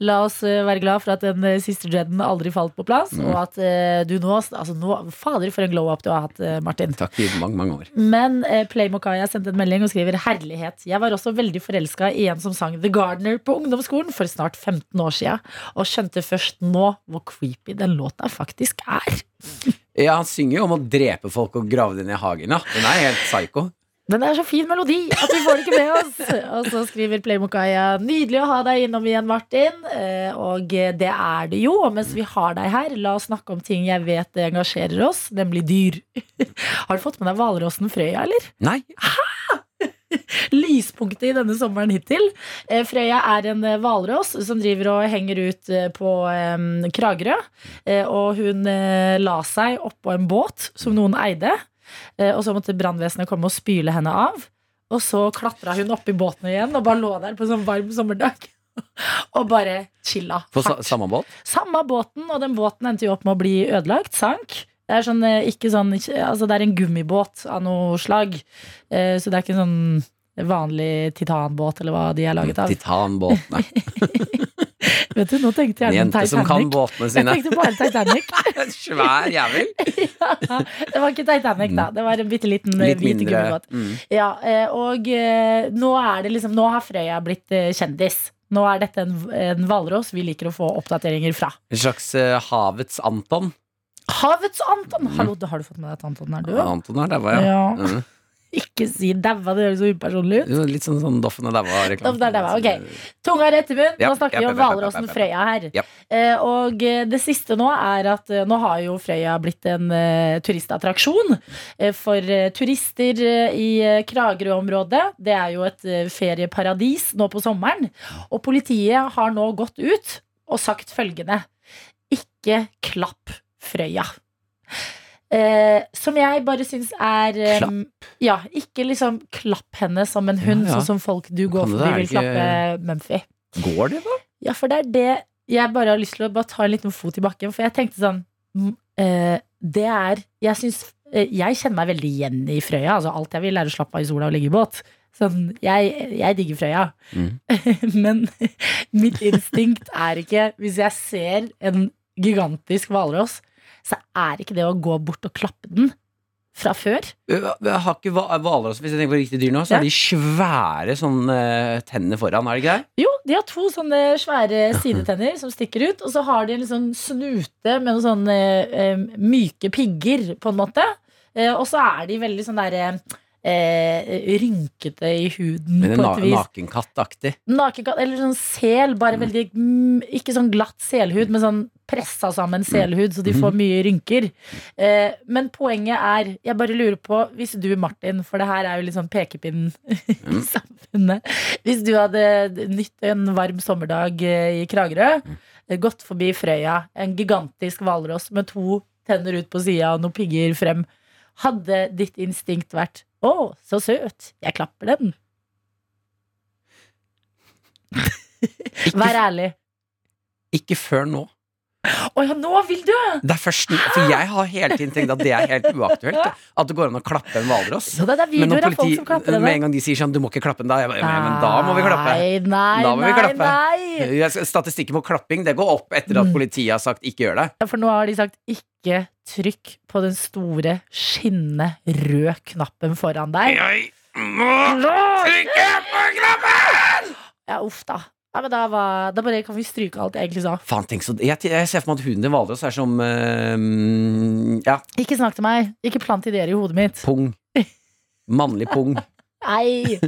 D: La oss eh, være glad for at den eh, siste dreaden aldri falt på plass, og at eh, du nå, altså nå Fader, for en glow-up du har hatt, eh, Martin.
B: Takk i mange, mange år.
D: Men eh, Playmokaya sendte en melding og skriver 'Herlighet'. Jeg var også veldig forelska i en som sang The Gardener på ungdomsskolen for snart 15 år sia, og skjønte først nå hvor creepy den låta faktisk er.
B: Ja, han synger jo om å drepe folk og grave dem ned i hagen, ja. Den er helt psycho.
D: Men det er så fin melodi at vi får det ikke med oss. Og så skriver Playmokaya Nydelig å ha deg innom igjen, Martin. Eh, Og det er det jo. Og mens vi har deg her, la oss snakke om ting jeg vet det engasjerer oss, nemlig dyr. Har du fått med deg hvalrossen Frøya, eller?
B: Nei.
D: Lyspunktet i denne sommeren hittil. Eh, Frøya er en eh, hvalross som driver og henger ut eh, på eh, Kragerø. Eh, Og hun eh, la seg oppå en båt som noen eide. Eh, Og så måtte brannvesenet komme og spyle henne av. Og så klatra hun opp i båten igjen og bare lå der på en sånn varm sommerdag. Og bare chilla.
B: På sa
D: hardt.
B: samme båt?
D: Samme båten, og den båten endte jo opp med å bli ødelagt. Sank. Det er, sånn, eh, ikke sånn, ikke- altså det er en gummibåt av noe slag. Eh, Så det er ikke en sånn vanlig titanbåt eller hva de er laget av.
B: Titanbåtene.
D: Vet du, Nå tenkte jeg
B: En
D: den
B: jente som kan
D: Titanic.
B: båtene
D: Jeg
B: sine.
D: tenkte bare Titanic.
B: Svær jævel.
D: Det var ikke Titanic, da. Det var en bitte liten
B: Mm. Litt
D: hvit
B: mindre.
D: gummibåt.
B: Mm.
D: Ja, eh, og eh, nå er det liksom Nå har Frøya blitt eh, kjendis. Nå er dette en en hvalross vi liker å få oppdateringer fra.
B: En slags eh, havets Anton.
D: Havets Anton!
B: Mm.
D: Hallo, da har du fått med deg at Anton er død?
B: Anton her, der var jeg.
D: Ja.
B: Mm.
D: Ikke si daua, det høres så upersonlig ut.
B: Jo, Litt sånn, sånn Doffen og daua-reklame.
D: Doffen og daua, ok. Tunga rett i munnen.
B: Ja,
D: Nå snakker vi
B: ja,
D: om
B: ja, ja, ja, ja, ja.
D: hvalrossen Frøya her.
B: Ja.
D: Eh, Og eh, det siste nå er at eh, nå har jo Frøya blitt en eh, turistattraksjon eh, for eh, turister eh, i eh, Kragerø-området. Det er jo et eh, ferieparadis nå på sommeren. Og politiet har nå gått ut og sagt følgende. Ikke klapp Frøya. Eh, som jeg bare syns er eh,
B: Klapp?
D: Ja, ikke liksom klapp henne som en hund,
B: Ja, ja.
D: sånn som folk du går
B: Kan det
D: forbi
B: da, er
D: vil
B: det ikke-
D: klappe Mumphy.
B: Går det, da?
D: Ja, for det er det jeg bare har lyst til å bare ta en liten fot i bakken, for jeg tenkte sånn mm, eh, Det er Jeg syns eh, Jeg kjenner meg veldig igjen i Frøya. Altså, alt jeg vil, er å slappe av i sola og ligge i båt. Sånn, jeg, jeg digger Frøya,
B: Mm.
D: men mitt instinkt er ikke Hvis jeg ser en gigantisk hvalross, så er ikke det å gå bort og klappe den fra før.
B: Øh, Jeg har ikke hva- hvalross, hvis jeg tenker på riktige dyr nå,
D: Ja.
B: så er de svære sånn eh, tennene foran, er det ikke det?
D: Jo, de har to sånne svære sidetenner som stikker ut. Og så har de en litt sånn snute med noen sånne eh, myke pigger, på en måte. Eh, og så er de veldig sånn derre eh, rynkete i huden,
B: Men
D: på
B: en na
D: et vis.
B: nakenkattaktig.
D: Nakenkatt, eller sånn sel, bare veldig mm, Ikke sånn glatt selhud, men sånn pressa sammen selhud, så de får mye rynker. Eh, men poenget er, jeg bare lurer på, hvis du, Martin, for det her er jo litt sånn pekepinnen i samfunnet Hvis du hadde nytt en varm sommerdag eh, i Kragerø, eh, gått forbi Frøya, en gigantisk hvalross med to tenner ut på sida og noen pigger frem, hadde ditt instinkt vært å, så søt, jeg klapper den. Vær ærlig.
B: Ikke før nå.
D: Å ja, nå vil du!
B: Det er først nå. For jeg har hele tiden tenkt at det er helt uaktuelt. det. At det går an å klappe en hvalross.
D: Så det er
B: Men når
D: videoer av folk som klapper
B: politi,
D: det.
B: med en gang de sier sånn 'du må ikke klappe den', da, jeg bare, "Ja, men da må vi klappe.
D: Nei, nei,
B: Da må vi
D: nei,
B: klappe.
D: nei.
B: Jeg skal- Statistikken på klapping det går opp etter at
D: Mm.
B: politiet har sagt 'ikke gjør det'.
D: Ja, For nå har de sagt ikke trykk på den store, skinnende røde knappen foran deg.
B: Jeg må trykke på knappen!
D: Ja, uff da. Ja, men da, var, da bare kan vi stryke alt jeg egentlig sa.
B: Faen, tenk så Jeg, jeg ser for meg at hunden din hvalross er som eh, Ja,
D: Ikke snakk til meg. Ikke plant ideer i hodet mitt.
B: pung. Mannlig pung.
D: Nei!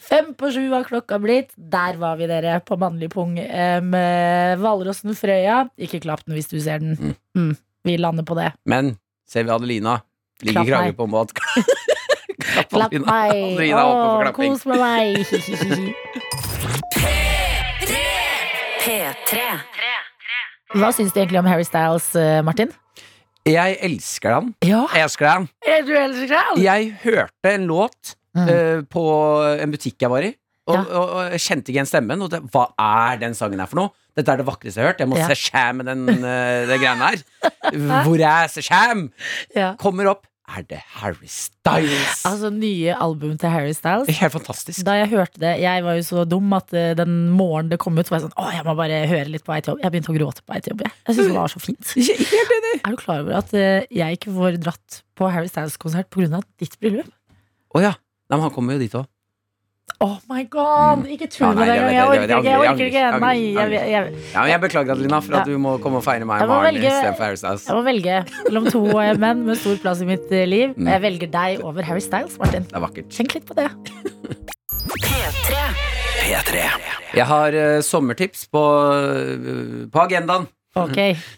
D: Fem på sju har klokka blitt. Der var vi, dere, på mannlig pung. Eh, med Hvalrossen Frøya. Ikke klapp den hvis du ser den. Mm, vi lander på det.
B: Men ser vi Adelina. Ligger
D: Klapp
B: i kragen
D: meg.
B: på mat. Klapp
D: Klapp
B: Adelina.
D: meg!
B: Adelina er åpen for
D: Åh,
B: klapping.
D: kos med meg!
C: P3.
D: Hva syns du egentlig om Harry Styles, eh, Martin?
B: Jeg elsker den.
D: Ja,
B: Jeg elsker den.
D: er du elsker han?
B: Jeg hørte en låt
D: Mm.
B: eh, på en butikk jeg var i, og,
D: Ja.
B: og, og jeg kjente ikke igjen stemmen. Og det, hva er den sangen her for noe? Dette er det vakreste jeg har hørt. Jeg må
D: Ja.
B: se skjæm med den eh, det greiene her. Hvor er se skjæm?
D: Ja.
B: Kommer opp. Er det Harry Styles?
D: Altså, nye album til Harry Styles.
B: Helt fantastisk.
D: Da jeg hørte det, jeg var jo så dum at eh, den morgenen det kom ut, så var jeg sånn Å, jeg må bare høre litt på vei til jobb. Jeg begynte å gråte på vei til jobb. Jeg, jeg syns det var så fint.
B: Ikke ikke helt enig.
D: Er du klar over at eh, jeg ikke får dratt på Harry Styles-konsert pga. ditt bryllup?
B: Å ja. Nei, men han kommer jo dit òg.
D: Oh my god! Ikke tull
B: Mm. Ja, nei,
D: med det engang. Jeg
B: jeg vet, jeg vet,
D: orker ikke. Jeg orker
B: jeg angrer, jeg
D: ikke.
B: angrer,
D: Nei,
B: angrer.
D: jeg, jeg,
B: Ja, men jeg beklager, Adelina, for at
D: Ja.
B: du må komme og feire meg
D: Jeg
B: og
D: må
B: Maren
D: velge-
B: istedenfor Harry Styles.
D: Jeg må velge mellom to eh, menn med stor plass i mitt eh, liv.
B: Mm.
D: Jeg velger deg over Harry Styles, Martin.
B: Det er vakkert.
D: Tenk litt på det.
B: Jeg har eh, sommertips på, eh, på agendaen
D: Ok,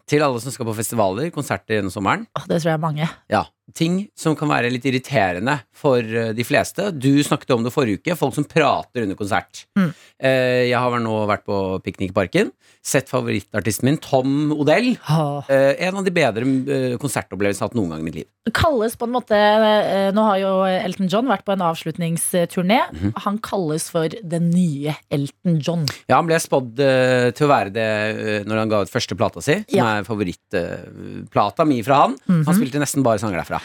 B: til alle som skal på festivaler, konserter gjennom sommeren.
D: Åh, Det tror jeg er mange.
B: Ja, ting som kan være litt irriterende for eh, de fleste. Du snakket om det forrige uke, folk som prater under konsert.
D: Mm.
B: Eh, Jeg har vel nå vært på Piknikparken, sett favorittartisten min, Tom Odell.
D: Åh.
B: Eh, En av de bedre eh, konsertopplevelsene jeg har hatt noen gang i mitt liv.
D: Kalles på en måte eh, Nå har jo Elton John vært på en avslutningsturné.
B: Mhm.
D: Han kalles for den nye Elton John.
B: Ja, han ble spådd eh, til å være det eh, når han ga ut første plata si, som
D: Ja. Mhm.
B: er favorittplata mi fra han. Han spilte nesten bare sanger derfra.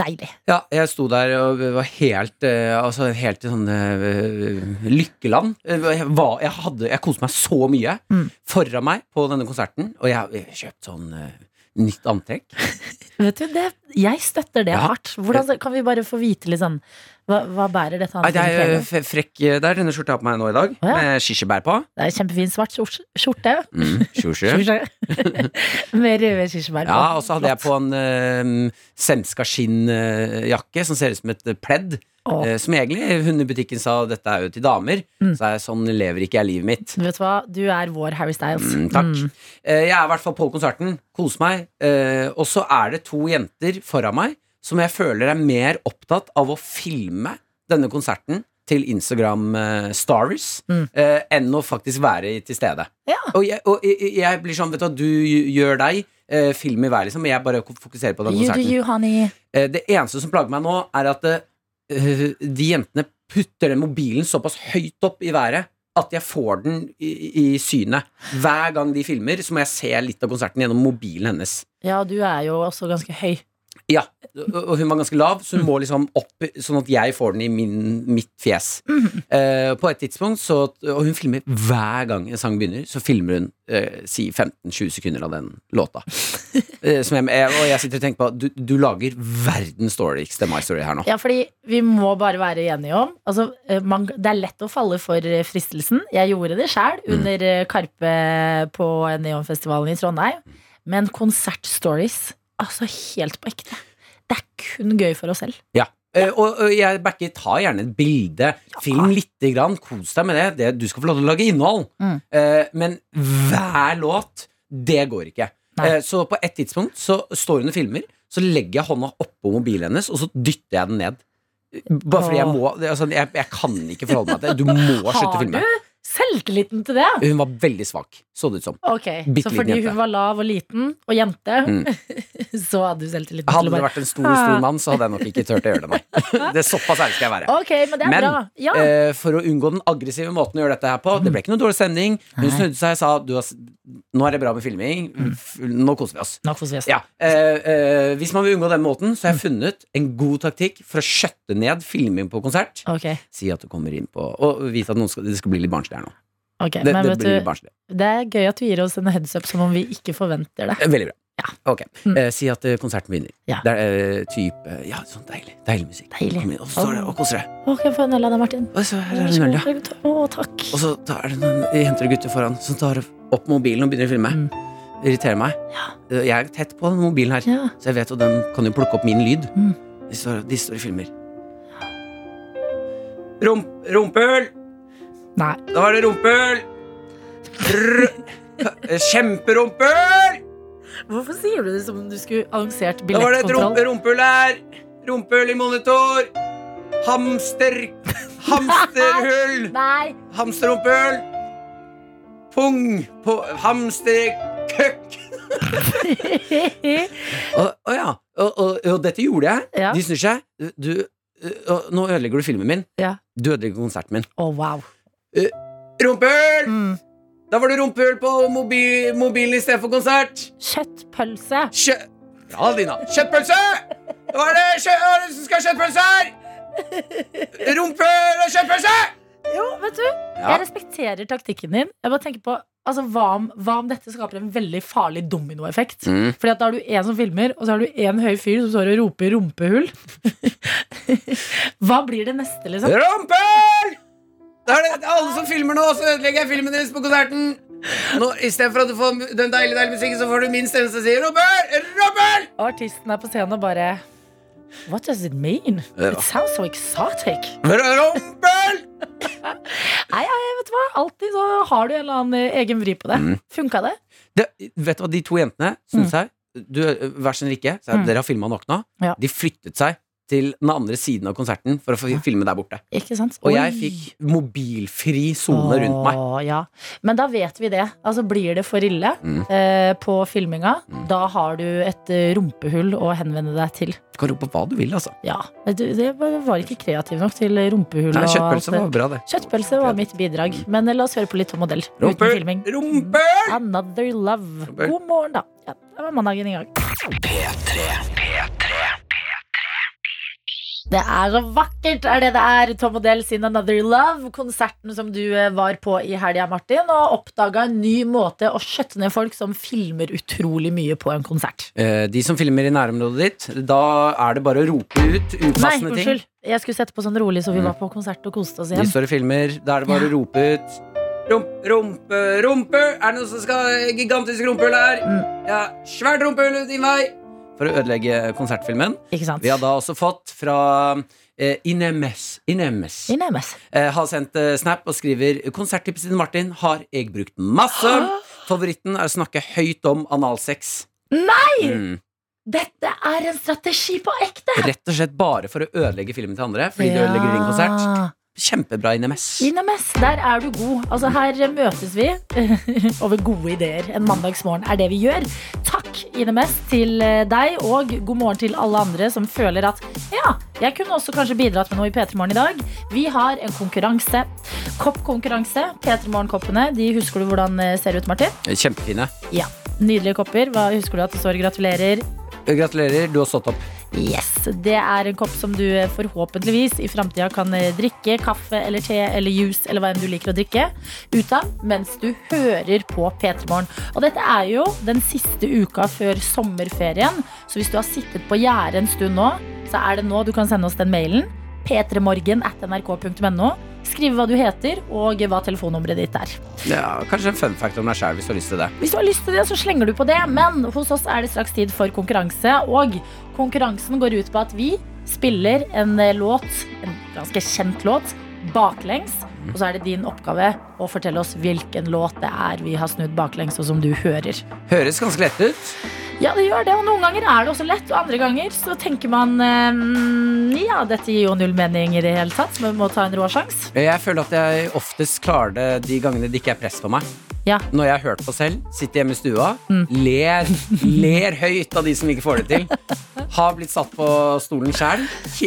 D: Deilig.
B: Ja, jeg sto der og var helt eh, Altså helt i sånn eh, lykkeland. Jeg, var, jeg, hadde, jeg koste meg så mye
D: Mm.
B: foran meg på denne konserten, og jeg, jeg kjøpte sånn eh, nytt antrekk.
D: Vet du, det, Jeg støtter det
B: Ja.
D: hardt. Hvordan Kan vi bare få vite litt sånn Hva, hva bærer dette
B: Nei,
D: an?
B: det er eh,
D: Det
B: f- frekk Det er denne skjorta jeg har på meg nå i dag,
D: Å, ja.
B: med kirsebær på.
D: er en kjempefin svart skjort- skjorte.
B: Mm, tjusje.
D: Med røde kirsebær på.
B: Ja, og så hadde jeg
D: Flott.
B: på en eh, semska skinnjakke som ser ut som et eh, pledd.
D: Åh.
B: eh, som egentlig hundebutikken sa dette er jo til damer.
D: Mm.
B: Så er jeg sånn lever ikke jeg livet mitt.
D: Vet du hva, du er vår Harry Styles.
B: Mm, takk.
D: Mm.
B: Eh, jeg er i hvert fall på konserten. Kos meg. Eh, og så er det to jenter foran meg som jeg føler er mer opptatt av å filme denne konserten til Instagram eh, Stories
D: Mm.
B: eh, enn å faktisk være i- til stede.
D: Ja.
B: Og, jeg, og jeg, jeg blir sånn, vet du hva, du gjør deg. eh, Film i hver, liksom. Jeg bare fokuserer på den
D: You do
B: konserten.
D: you, honey.
B: Eh, Det eneste som plager meg nå, er at eh, de jentene putter den mobilen såpass høyt opp i været at jeg får den i, i synet. Hver gang de filmer, så må jeg se litt av konserten gjennom mobilen hennes.
D: Ja, du er jo også ganske høy.
B: Ja, og hun var ganske lav, så hun må liksom opp sånn at jeg får den i min, mitt fjes. Eh, på et tidspunkt, så, og hun filmer hver gang en sang begynner, så filmer hun eh, si 15-20 sekunder av den låta. Eh, som jeg, jeg- og jeg sitter og tenker på Du, du lager verdens dårligste My Story her nå.
D: Ja, fordi vi må bare være enige om altså, eh, man, Det er lett å falle for eh, fristelsen. Jeg gjorde det sjæl
B: Mm.
D: under eh, Karpe på Neonfestivalen i Trondheim. Men konsertstories, altså helt på ekte. Det er kun gøy for oss selv.
B: Ja. Eh, og, og jeg backer, ta gjerne et bilde. Film lite grann. Kos deg med det. det. Du skal få lov til å lage innhold.
D: Mm.
B: Eh, men hver låt, det går ikke.
D: Nei.
B: Eh, så på et tidspunkt så står hun og filmer, så legger jeg hånda oppå mobilen hennes, og så dytter jeg den ned. Bare fordi jeg
D: Åh.
B: må det- altså, jeg, jeg kan ikke forholde meg til det. Du må slutte å
D: Har
B: filme.
D: du selvtilliten til det?
B: Hun var veldig svak, så det ut som.
D: Ok,
B: Bitte
D: Så
B: liten
D: fordi
B: jente.
D: hun var lav og liten og jente,
B: Mm.
D: så hadde du selvtilliten til å
B: Hadde det
D: bare
B: vært en stor, stor mann, så hadde jeg nok ikke turt å gjøre det, nei. Det er såpass ærlig skal jeg være.
D: Ok, men det er
B: Men,
D: bra. Ja.
B: eh, for å unngå den aggressive måten å gjøre dette her på Det ble ikke noe dårlig stemning. Hun
D: Nei.
B: snudde seg og sa du har, s- nå er det bra med filming. F- Nå koser vi oss.
D: Nå koser vi oss.
B: Ja, eh, eh, hvis man vil unngå den måten, så har jeg funnet en god taktikk for å skjøtte ned filming på konsert.
D: Ok,
B: Si at du kommer inn på Og vite at noen skal, det skal bli litt barnslig her nå.
D: ok.
B: Det,
D: Men
B: det
D: vet
B: blir litt
D: du,
B: barnslig.
D: det er gøy at du gir oss en heads up som om vi ikke forventer det.
B: Eh, Veldig bra. Ok.
D: Mm.
B: Eh, si at eh, konserten begynner.
D: Ja.
B: Det er eh, type Ja, sånn deilig. Deilig musikk.
D: Deilig.
B: Kom inn, og så står det og koser deg.
D: Å, kan jeg få en øl av deg, Martin?
B: Og så her
D: Vær
B: er det
D: så
B: en øl,
D: god.
B: ja.
D: Å, takk.
B: Og så da er det noen jenter og gutter foran som tar opp mobilen og begynner å
D: Mm.
B: filme. Det irriterer meg. Jeg er tett på den mobilen her,
D: Ja.
B: så jeg vet at den kan jo plukke opp min lyd.
D: Mm.
B: De, står, de står og filmer. Rump, rumpehull!
D: Nei.
B: Da var det rumpehull! Rr- Kjemperumpehull!
D: Hvorfor sier du det som om du skulle annonsert
B: Da var det et
D: billettkontroll?
B: rumpe, rumpehull her! Rumpehull i monitor! Hamster... Hamsterhull!
D: Nei!
B: Hamsterrumpøl Pung på hamsterkøkk Å å ja, og, og, og dette gjorde jeg
D: Ja.
B: De snur seg du, og, Nå ødelegger du filmen min
D: Ja.
B: Du ødelegger konserten min
D: Å, wow.
B: Rumpøl!
D: Mm.
B: Da var det rumpøl på mobi mobilen i stedet for konsert
D: Kjøttpølse.
B: Kjø... Bra, Dina Kjøttpølse! Da var det kjø å, det skal ha kjøttpølse her Rumpøl og kjøttpølse
D: Jo, vet du,
B: Ja.
D: jeg respekterer taktikken din. Jeg bare tenker på altså, hva, om, hva om dette skaper en veldig farlig dominoeffekt?
B: Mm.
D: Fordi at Da har du én som filmer, og så har du én høy fyr som står og roper 'rumpehull'. hva blir det neste, liksom?
B: Rumpel! Da er det alle som filmer nå, så ødelegger jeg filmen deres på konserten. Nå, I stedet for at du får den deilige deilige musikken, så får du min stemme som sier Rumpel! Rumpel!
D: Og artisten er på scenen og bare What does it mean?
B: Ja.
D: It sounds so exotic.
B: Rumpel!
D: Nei, jeg vet du hva, alltid så har du en eller annen eh, egen vri på det.
B: Mm.
D: Funka det?
B: Det, vet du hva de to jentene syns her? Du, vær så snill ikke. Så
D: Mm.
B: Dere har filma nok nå.
D: Ja.
B: De flyttet seg til den andre siden av konserten for å få filme der borte.
D: Ikke sant?
B: Og
D: Oi.
B: jeg fikk mobilfri sone rundt meg.
D: Åh, ja. Men da vet vi det. Altså Blir det for ille
B: Mm.
D: eh, på filminga,
B: Mm.
D: da har du et eh, rumpehull å henvende deg til.
B: Du kan rope hva du vil, altså.
D: Ja, du, Det var ikke kreativ nok til rumpehull.
B: Nei,
D: og alt
B: kjøttpølse var
D: det.
B: bra, det.
D: Kjøttpølse var mitt bidrag. Men eh, la oss høre på litt Tom Modell. Uten
B: Rumpel!
D: filming.
B: Rumpel!
D: Another Love.
B: Rumpel.
D: God morgen, da. Ja, det var mandagen i gang. Det er så vakkert, er det det er. Tom Odell sin Another Love. Konserten som du eh, var på i helga, Martin. Og oppdaga en ny måte å skjøtte ned folk som filmer utrolig mye på en konsert.
B: Eh, De som filmer i nærområdet ditt, da er det bare å rope ut
D: Nei,
B: upassende ting.
D: unnskyld. Jeg skulle sette på sånn rolig, så vi
B: Mm.
D: var på konsert og koste oss
B: De
D: igjen.
B: står og filmer, da er det bare å rope ut Rump, rumpe, rumpe Er det noen som skal ha gigantisk rumpehull her?
D: Mm.
B: Ja, svært rumpehull ut din vei For å ødelegge konsertfilmen
D: Ikke sant?
B: Vi har da også fått fra eh, Inemes Inemes
D: I E Nemes.
B: E eh, Har sendt eh, snap og skriver Konserttipset til Martin har jeg brukt masse Favoritten er å snakke høyt om analsex Nei! Mm.
D: Dette er en strategi på ekte!
B: Rett og slett bare for å ødelegge filmen til andre. Fordi de ødelegger din konsert Kjempebra NMS.
D: Inames, der er du god. Altså Her møtes vi over gode ideer. En mandagsmorgen er det vi gjør. Takk, Inames, til eh, deg, og god morgen til alle andre som føler at ja, jeg kunne også kanskje bidratt med noe i P3 Morgen i dag. Vi har en konkurranse. Koppkonkurranse. P3 Morgen-koppene. De husker du hvordan eh, ser ut, Martin?
B: Kjempefine.
D: Ja. Nydelige kopper. Hva husker du at det står 'gratulerer'?
B: Gratulerer, du har stått opp.
D: Yes, Det er en kopp som du eh, forhåpentligvis i framtida kan eh, drikke kaffe eller te eller juice eller hva enn du liker å drikke ut av mens du hører på P3 Morgen. Og dette er jo den siste uka før sommerferien, så hvis du har sittet på gjerdet en stund nå, så er det nå du kan sende oss den mailen. p3morgen at nrk.no. Skrive hva du heter og hva telefonnummeret ditt er.
B: Ja, kanskje en fun fact om deg sjæl, hvis du har lyst til det.
D: Hvis du har lyst til det, så slenger du på det. Men hos oss er det straks tid for konkurranse. Og konkurransen går ut på at vi spiller en eh, låt, en ganske kjent låt, baklengs. Og så er det din oppgave å fortelle oss hvilken låt det er vi har snudd baklengs, og som du hører.
B: Høres ganske lett ut.
D: Ja, det gjør det. Og noen ganger er det også lett, og andre ganger så tenker man eh, mm, ja, dette gir jo null mening i det hele tatt, men vi må ta en rå sjanse.
B: Jeg føler at jeg oftest klarer det de gangene det ikke er press på meg.
D: Ja.
B: Når jeg har hørt på selv, sitter hjemme i stua, ler, ler høyt av de som ikke får det til. Har blitt satt på stolen sjæl,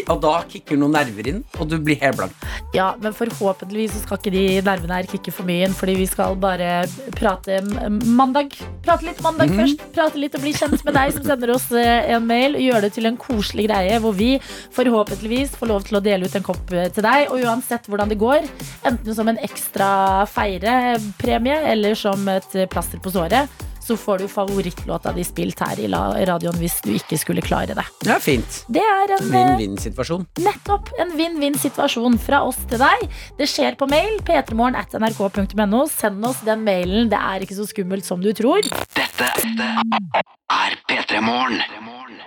B: og da kicker noen nerver inn, og du blir helt blank.
D: Ja, men forhåpentligvis så skal ikke de nervene her kikke for mye inn, fordi vi skal bare prate m- mandag. Prate litt mandag først. Prate litt og bli kjent med deg som sender oss eh, en mail. Gjør det til en koselig greie hvor vi forhåpentligvis får lov til å dele ut en kopp eh, til deg. Og uansett hvordan det går, enten som en ekstra feirepremie eller som et eh, plaster på såret, så får du favorittlåta di spilt her i la- radioen hvis du ikke skulle klare det.
B: Det er fint.
D: Det er en eh,
B: Vinn-vinn-situasjon.
D: Nettopp en vinn-vinn-situasjon fra oss til deg. Det skjer på mail. p3morgen at nrk.no. Send oss den mailen. Det er ikke så skummelt som du tror.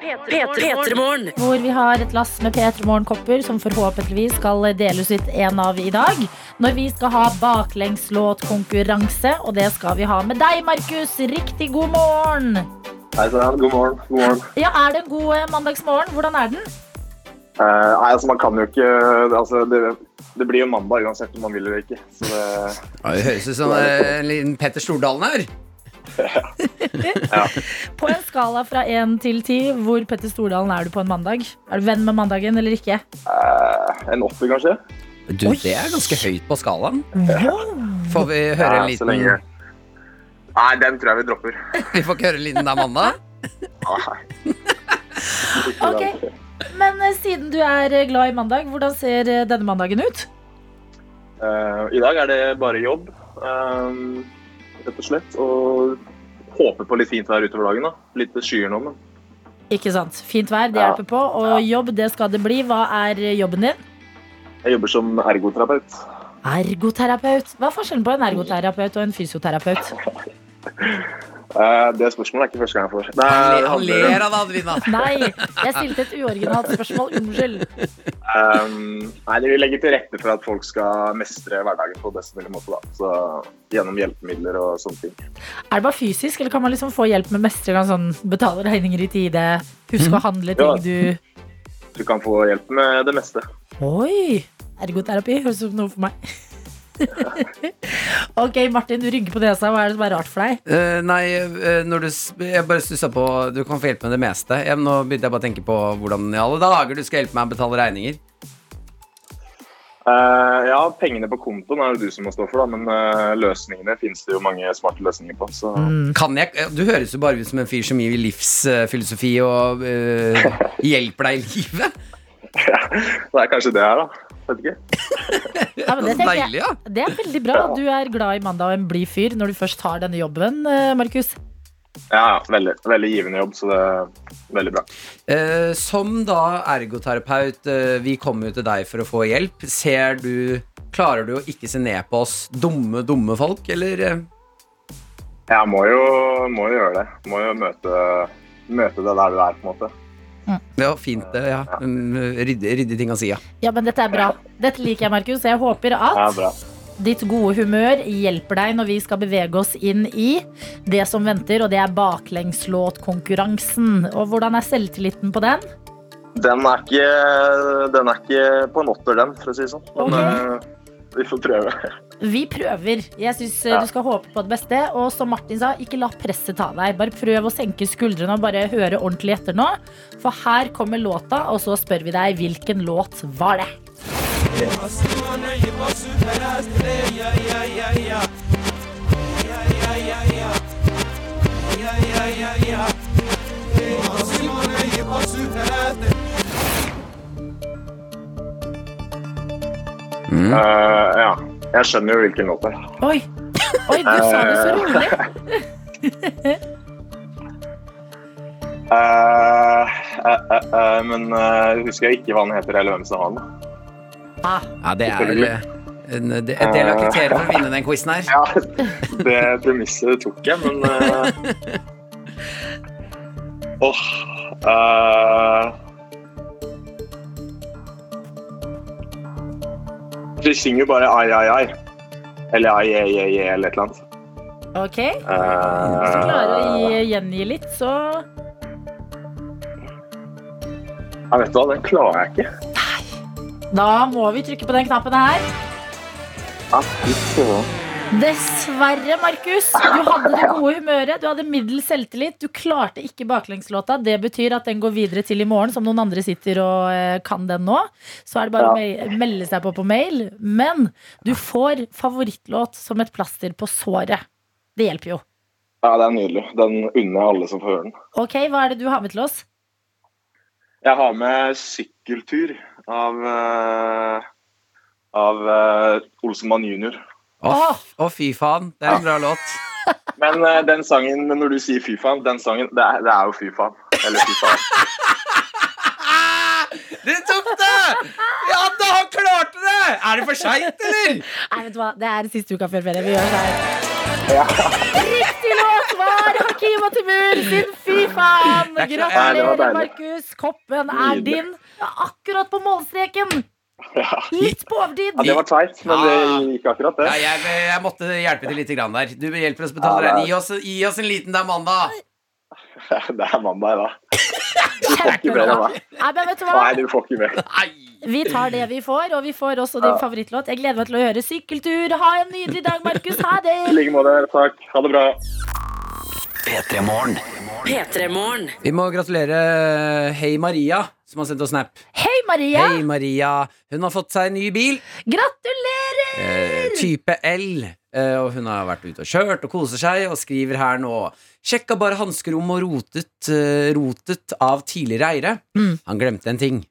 C: P3morgen.
D: Hvor vi har et lass med P3morgen-kopper som forhåpentligvis skal deles ut en av i dag. Når vi skal ha baklengslåtkonkurranse, og det skal vi ha med deg, Markus. Riktig god morgen.
F: Hei sann, god morgen. God morgen.
D: Ja, er det en god eh, mandagsmorgen? Hvordan er den?
F: Eh, nei, altså man kan jo ikke altså, det, det blir jo mandag uansett om man vil eller ikke. Så det,
B: Det høres ut som eh, en liten Petter Stordalen her.
D: På en skala fra én til ti, hvor Petter Stordalen er du på en mandag? Er du venn med mandagen eller ikke?
F: eh, en åtter, kanskje?
B: Du, det er ganske høyt på skalaen. Får vi høre en
F: Ja, så
B: liten
F: lenge. Nei, den tror jeg vi dropper. Ah,
B: Vi får ikke høre en liten Amanda?
F: Nei.
D: Ok. Men eh, siden du er eh, glad i mandag, hvordan ser eh, denne mandagen ut?
F: Eh, I dag er det bare jobb, eh, rett og slett. Og håpe på litt fint vær utover dagen. da. Litt skyer nå, men
D: Ikke sant? Fint vær, det
F: Ja.
D: hjelper på. Og jobb, det skal det bli. Hva er eh, jobben din?
F: jeg jobber som ergoterapeut.
D: Ergoterapeut. Hva er forskjellen på en ergoterapeut og en fysioterapeut?
F: Eh, det spørsmålet er ikke første gang jeg får. Det
B: Han le-
F: er-
B: han
F: handler om-
B: ler av det, Adelina.
D: Nei, jeg stilte et uoriginalt spørsmål. Unnskyld.
F: Um, nei, De vil legge til rette for at folk skal mestre hverdagen på best mulig måte. da. Så Gjennom hjelpemidler og sånne ting.
D: Er det bare fysisk, eller kan man liksom få hjelp med mestring av sånn betale regninger i tide, huske å handle
F: Mhm. Ja.
D: ting du
F: Du kan få hjelp med det meste.
D: Oi! Ergoterapi høres ut som noe for meg. ok, Martin, du rygger på nesa. Hva er det som er rart for deg?
B: Eh, nei, eh, når du s- Jeg bare stussa på Du kan få hjelpe med det meste. Jeg, nå begynte jeg bare å tenke på hvordan i alle dager du skal hjelpe meg å betale regninger.
F: Eh, ja, pengene på kontoen er det du som må stå for, da, men eh, løsningene finnes det jo mange smarte løsninger på. Så
B: Kan jeg eh, Du høres jo bare ut som en fyr som gir livsfilosofi og eh, hjelper deg i livet.
F: det er kanskje det her, da. Vet ikke.
D: Ja, men det,
B: Så
D: tenker
B: deilig, ja.
D: jeg, det er veldig bra. Du er glad i mandag og en blid fyr når du først har denne jobben, eh, Markus.
F: Ja, ja, veldig, veldig givende jobb, så det er veldig bra.
B: Eh, som da ergoterapeut, eh, vi kommer jo til deg for å få hjelp. Ser du Klarer du å ikke se ned på oss dumme, dumme folk, eller? eh?
F: Jeg må jo, må jo gjøre det. Må jo møte, møte det der du er, på en måte.
B: Ja, fint, det. Ja. Mm, Ryddig, ryddig ting å si, ja.
D: Ja, men dette er bra. Dette liker jeg, Markus. Jeg håper
F: Det er
D: at
F: bra.
D: ditt gode humør hjelper deg når vi skal bevege oss inn i det som venter, og det er baklengslåtkonkurransen. Og hvordan er selvtilliten på den?
F: Den er ikke, den er ikke på en åtter, den, for å si det sånn. Men eh, vi får prøve.
D: Vi prøver. Jeg syns
F: Ja.
D: du skal håpe på det beste. Og som Martin sa, ikke la presset ta deg. Bare prøv å senke skuldrene og bare høre ordentlig etter nå. For her kommer låta, og så spør vi deg hvilken låt var det?
F: Eh, ja. Jeg skjønner jo hvilken låt det er.
D: Oi, Oi du sa det så rolig.
F: Eh, eh, eh, eh, men eh, husker jeg ikke hva den heter, eller hvem som har den.
B: Ja, det er vel eh, en, det- et del av kriteriet for å vinne den quizen her.
F: Ja, det premisset tok jeg, men eh, Åh eh, De synger jo bare ai, ai, ai. Eller ai, ai, ai, ai, eller et eller annet.
D: Ok, Hvis du klarer å
F: Eh,
D: gi, gjengi litt, så
F: jeg vet du hva, den klarer jeg ikke.
D: Da må vi trykke på den knappen her.
F: Ja, fy søren.
D: Dessverre, Markus. Du hadde det gode humøret, du hadde middels selvtillit. Du klarte ikke baklengslåta. Det betyr at den går videre til i morgen, som noen andre sitter og eh, kan den nå. Så er det bare å me- melde seg på på mail. Men du får favorittlåt som et plaster på såret. Det hjelper jo.
F: ja, det er nydelig. Den unner jeg alle som får høre den.
D: Ok, hva er det du har med til oss?
F: Jeg har med sykkeltur av, eh, av eh, Olsenmann jr.
B: Å, f- å, fy faen. Det er en bra låt.
F: Men eh, den sangen, men når du sier fy faen, den sangen, det er, det er jo fy faen. Eller fy faen.
B: Du tok det! Ja da, han klarte det! Er det for seint, eller?
D: Nei, vet du hva? Det er siste uka før ferie. Vi gjør det her. Riktig låt var Hakima Timur sin Fy faen!
B: Det er ikke-
F: Nei, det var
D: Gratulerer,
F: deilig.
D: Markus. Koppen er
F: Nydelig.
D: din. Ja, Akkurat på målstreken.
F: Ja.
D: Litt på overtid.
F: ja, det var teit, men det gikk akkurat,
B: Ja,
F: det.
B: jeg, jeg måtte hjelpe til litt grann der. Du hjelper oss å betale
F: Ja, det
B: regning. Gi, oss- gi oss en liten der mandag.
F: Det er mandag i dag. Du får ikke mer enn meg.
D: Nei, men vet du hva?
F: Nei, du får ikke mer.
D: Vi tar det vi får, og vi får også din favorittlåt. Jeg gleder meg til å høre 'Sykkeltur'. Ha en nydelig dag, Markus. Ha det!
F: I like måte. Takk. Ha det bra.
C: P3-morgen.
B: Vi må gratulere Hei Maria, som har sendt oss snap.
D: Hei, Maria.
B: Hei Maria, Hun har fått seg en ny bil.
D: Gratulerer!
B: Eh, type L. Eh, og hun har vært ute og kjørt og koser seg, og skriver her nå Sjekka bare hanskerom og rotet, eh, rotet av tidligere eiere.
D: Mm.
B: Han glemte en ting.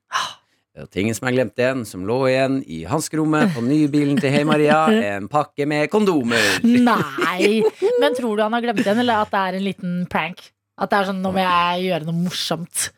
B: Og tingen som er glemt igjen, som lå igjen i hanskerommet på nybilen til Hei Maria, en pakke med kondomer.
D: Nei, men tror du han har glemt den, eller at det er en liten prank? At det er sånn, nå må jeg gjøre noe morsomt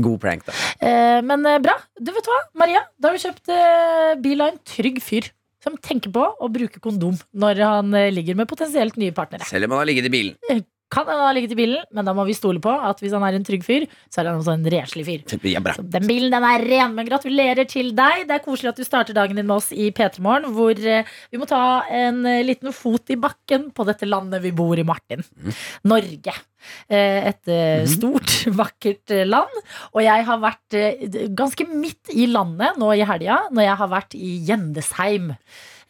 B: God prank, da.
D: eh, Men eh, bra, du vet hva, Maria Da har du kjøpt eh, bil av en trygg fyr Som tenker på å bruke kondom Når han eh, ligger med potensielt nye partnere
B: Selv om han har ligget i bilen.
D: Kan han ha ligget i bilen, men da må vi stole på At hvis han er en trygg fyr, så er han også en renslig fyr
B: Ja, bra.
D: så den bilen den er ren, men gratulerer til deg. Det er koselig at du starter dagen din med oss i P3morgen, hvor eh, vi må ta en eh, liten fot i bakken på dette landet vi bor i, Martin. Norge. Eh, Et eh, stort, vakkert eh, land. Og jeg har vært eh, d- ganske midt i landet nå i helga, når jeg har vært i Gjendesheim.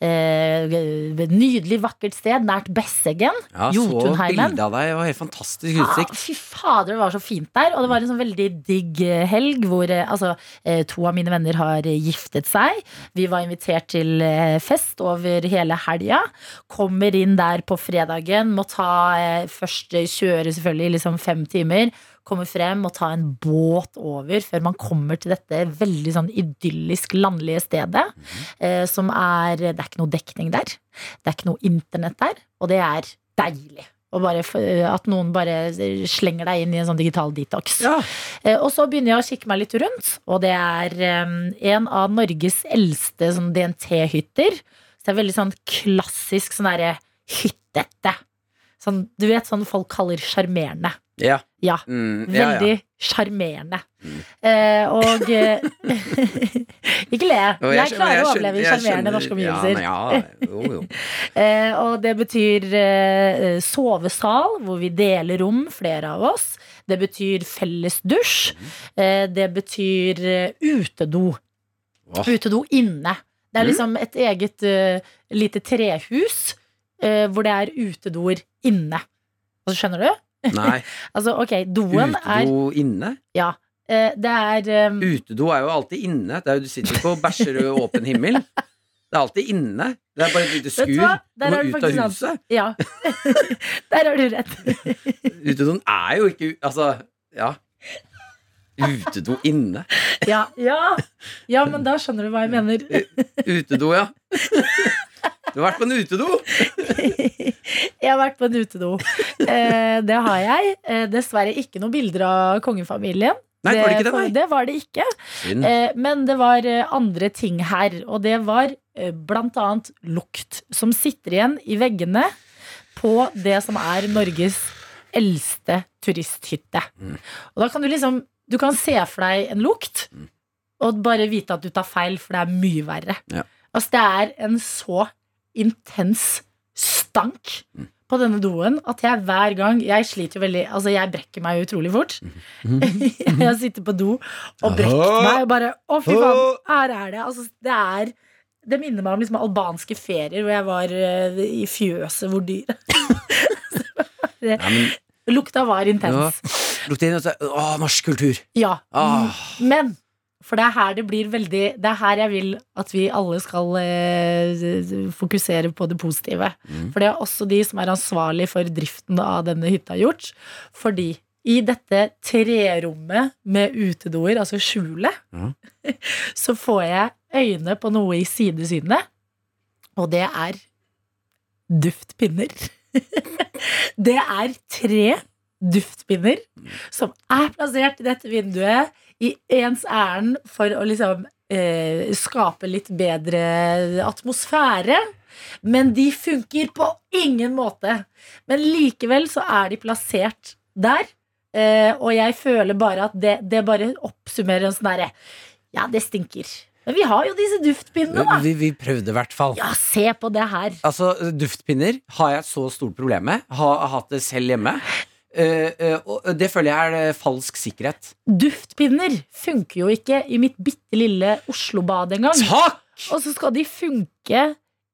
D: Eh, g- nydelig, vakkert sted nært Besseggen.
B: Ja, så
D: Jotunheimen.
B: bildet av deg. Det var helt fantastisk
D: Ja,
B: utsikt.
D: fy fader, det var så fint der. Og det var en sånn veldig digg eh, helg hvor eh, altså, eh, to av mine venner har eh, giftet seg. Vi var invitert til eh, fest over hele helga. Kommer inn der på fredagen, må ta eh, først eh, kjøre selvfølgelig liksom fem timer. Kommer frem og ta en båt over før man kommer til dette veldig sånn idyllisk landlige stedet. eh, som er Det er ikke noe dekning der. Det er ikke noe internett der, og det er deilig. Og bare, f- at noen bare slenger deg inn i en sånn digital detox.
B: Ja.
D: Eh, Og så begynner jeg å kikke meg litt rundt, og det er eh, en av Norges eldste sånn DNT-hytter. Så det er veldig sånn klassisk sånn derre hyttete. Sånn, du vet sånn folk kaller sjarmerende.
B: Ja.
D: Ja.
B: Mm, ja, ja.
D: Veldig sjarmerende. Eh, og eh, Ikke le.
B: Og
D: Jeg, klarer å
B: skjønner- skjønner-
D: overleve i
B: jeg
D: sjarmerende
B: skjønner-
D: norske omgivelser.
B: Ja, men ja, jo, jo.
D: Eh, og det betyr eh, eh, sovesal, hvor vi deler rom, flere av oss. Det betyr felles dusj. Eh, det betyr eh, utedo.
B: Åh.
D: Utedo inne. Det er
B: Mm.
D: liksom et eget eh, lite trehus eh, hvor det er utedoer inne. Altså, skjønner du?
B: Nei.
D: Altså, ok, doen er
B: Utedo inne?
D: eh, Det er eh,
B: Utedo er jo alltid inne. Det er jo, du sitter ikke og bæsjer i åpen himmel. Det er alltid inne. Det er bare et lite
D: Vet du
B: skur.
D: hva?
B: Du
D: Der
B: må
D: har du
B: ut av
D: faktisk sant.
B: huset.
D: Ja. Der har du rett.
B: Utedoen er jo ikke Altså, ja. Utedo inne.
D: Ja, ja. ja, men da skjønner du hva jeg mener.
B: Utedo, ja. Du har vært på en utedo!
D: Jeg har vært på en utedo. Eh, det har jeg. Eh, dessverre ikke noen bilder av kongefamilien.
B: Nei, var det ikke det,
D: for-
B: nei?
D: det var det ikke.
B: Synd.
D: Eh, men det var eh, andre ting her, og det var eh, blant annet lukt, som sitter igjen i veggene på det som er Norges eldste turisthytte.
B: Mm.
D: Og da kan du liksom Du kan se for deg en lukt,
B: Mm.
D: og bare vite at du tar feil, for det er mye verre.
B: Ja.
D: Altså, det er en så intens stank
B: Mm.
D: på denne doen at jeg hver gang Jeg sliter jo veldig Altså, jeg brekker meg jo utrolig fort.
B: Mm-hmm.
D: jeg sitter på do og brekker meg og bare Å, fy faen, her er det. Altså, det er det minner meg om liksom albanske ferier hvor jeg var eh, i fjøset hvor dyr
B: Nei, men,
D: Lukta var
B: ja.
D: intens.
B: Lukter inn og så Å, norsk kultur!
D: Ja.
B: Ah.
D: Men for det er her det blir veldig Det er her jeg vil at vi alle skal eh, fokusere på det positive. For det er også de som er ansvarlig for driften av denne hytta gjort. Fordi i dette trerommet med utedoer, altså skjulet,
B: Ja.
D: så får jeg øyne på noe i sidesynet, og det er duftpinner. det er tre duftpinner som er plassert i dette vinduet i ens ærend for å liksom eh, skape litt bedre atmosfære. Men de funker på ingen måte. Men likevel så er de plassert der. Eh, og jeg føler bare at det, det bare oppsummerer en sånn derre Ja, det stinker. Men vi har jo disse duftpinnene, da.
B: Vi, vi prøvde i hvert fall.
D: Mm. Ja, se på det her.
B: Altså, duftpinner har jeg et så stort problem med. Har har hatt det selv hjemme. Eh, eh, og det føler jeg er eh, falsk sikkerhet.
D: Duftpinner funker jo ikke i mitt bitte lille Oslo-bad engang.
B: Takk!
D: Og så skal de funke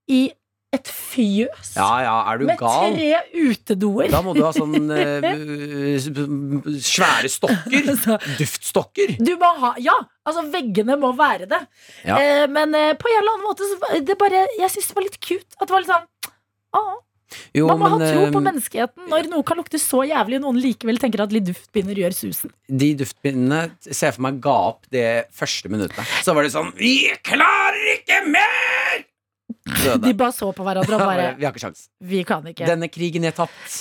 D: i et fjøs
B: Ja ja, er du
D: med
B: gal?
D: tre utedoer.
B: Da må du ha sånn eh, svære stokker.
D: Altså,
B: Duftstokker.
D: Du må ha, ja, altså veggene må være det.
B: Ja.
D: Eh, men eh, på en eller annen måte så var det bare, jeg synes det var litt cute. At det var litt sånn «Åh,
B: Jo,
D: Man må ha tro på
B: eh,
D: menneskeheten når noe kan lukte så jævlig, og noen likevel tenker at litt duftbinder gjør susen.
B: de duftpinnene ser jeg for meg ga opp det første minuttet. Så var det sånn Vi klarer ikke mer!
D: De
B: Døde.
D: bare så på hverandre og bare
B: Vi har ikke sjans.
D: Vi kan ikke.
B: Denne krigen er tapt.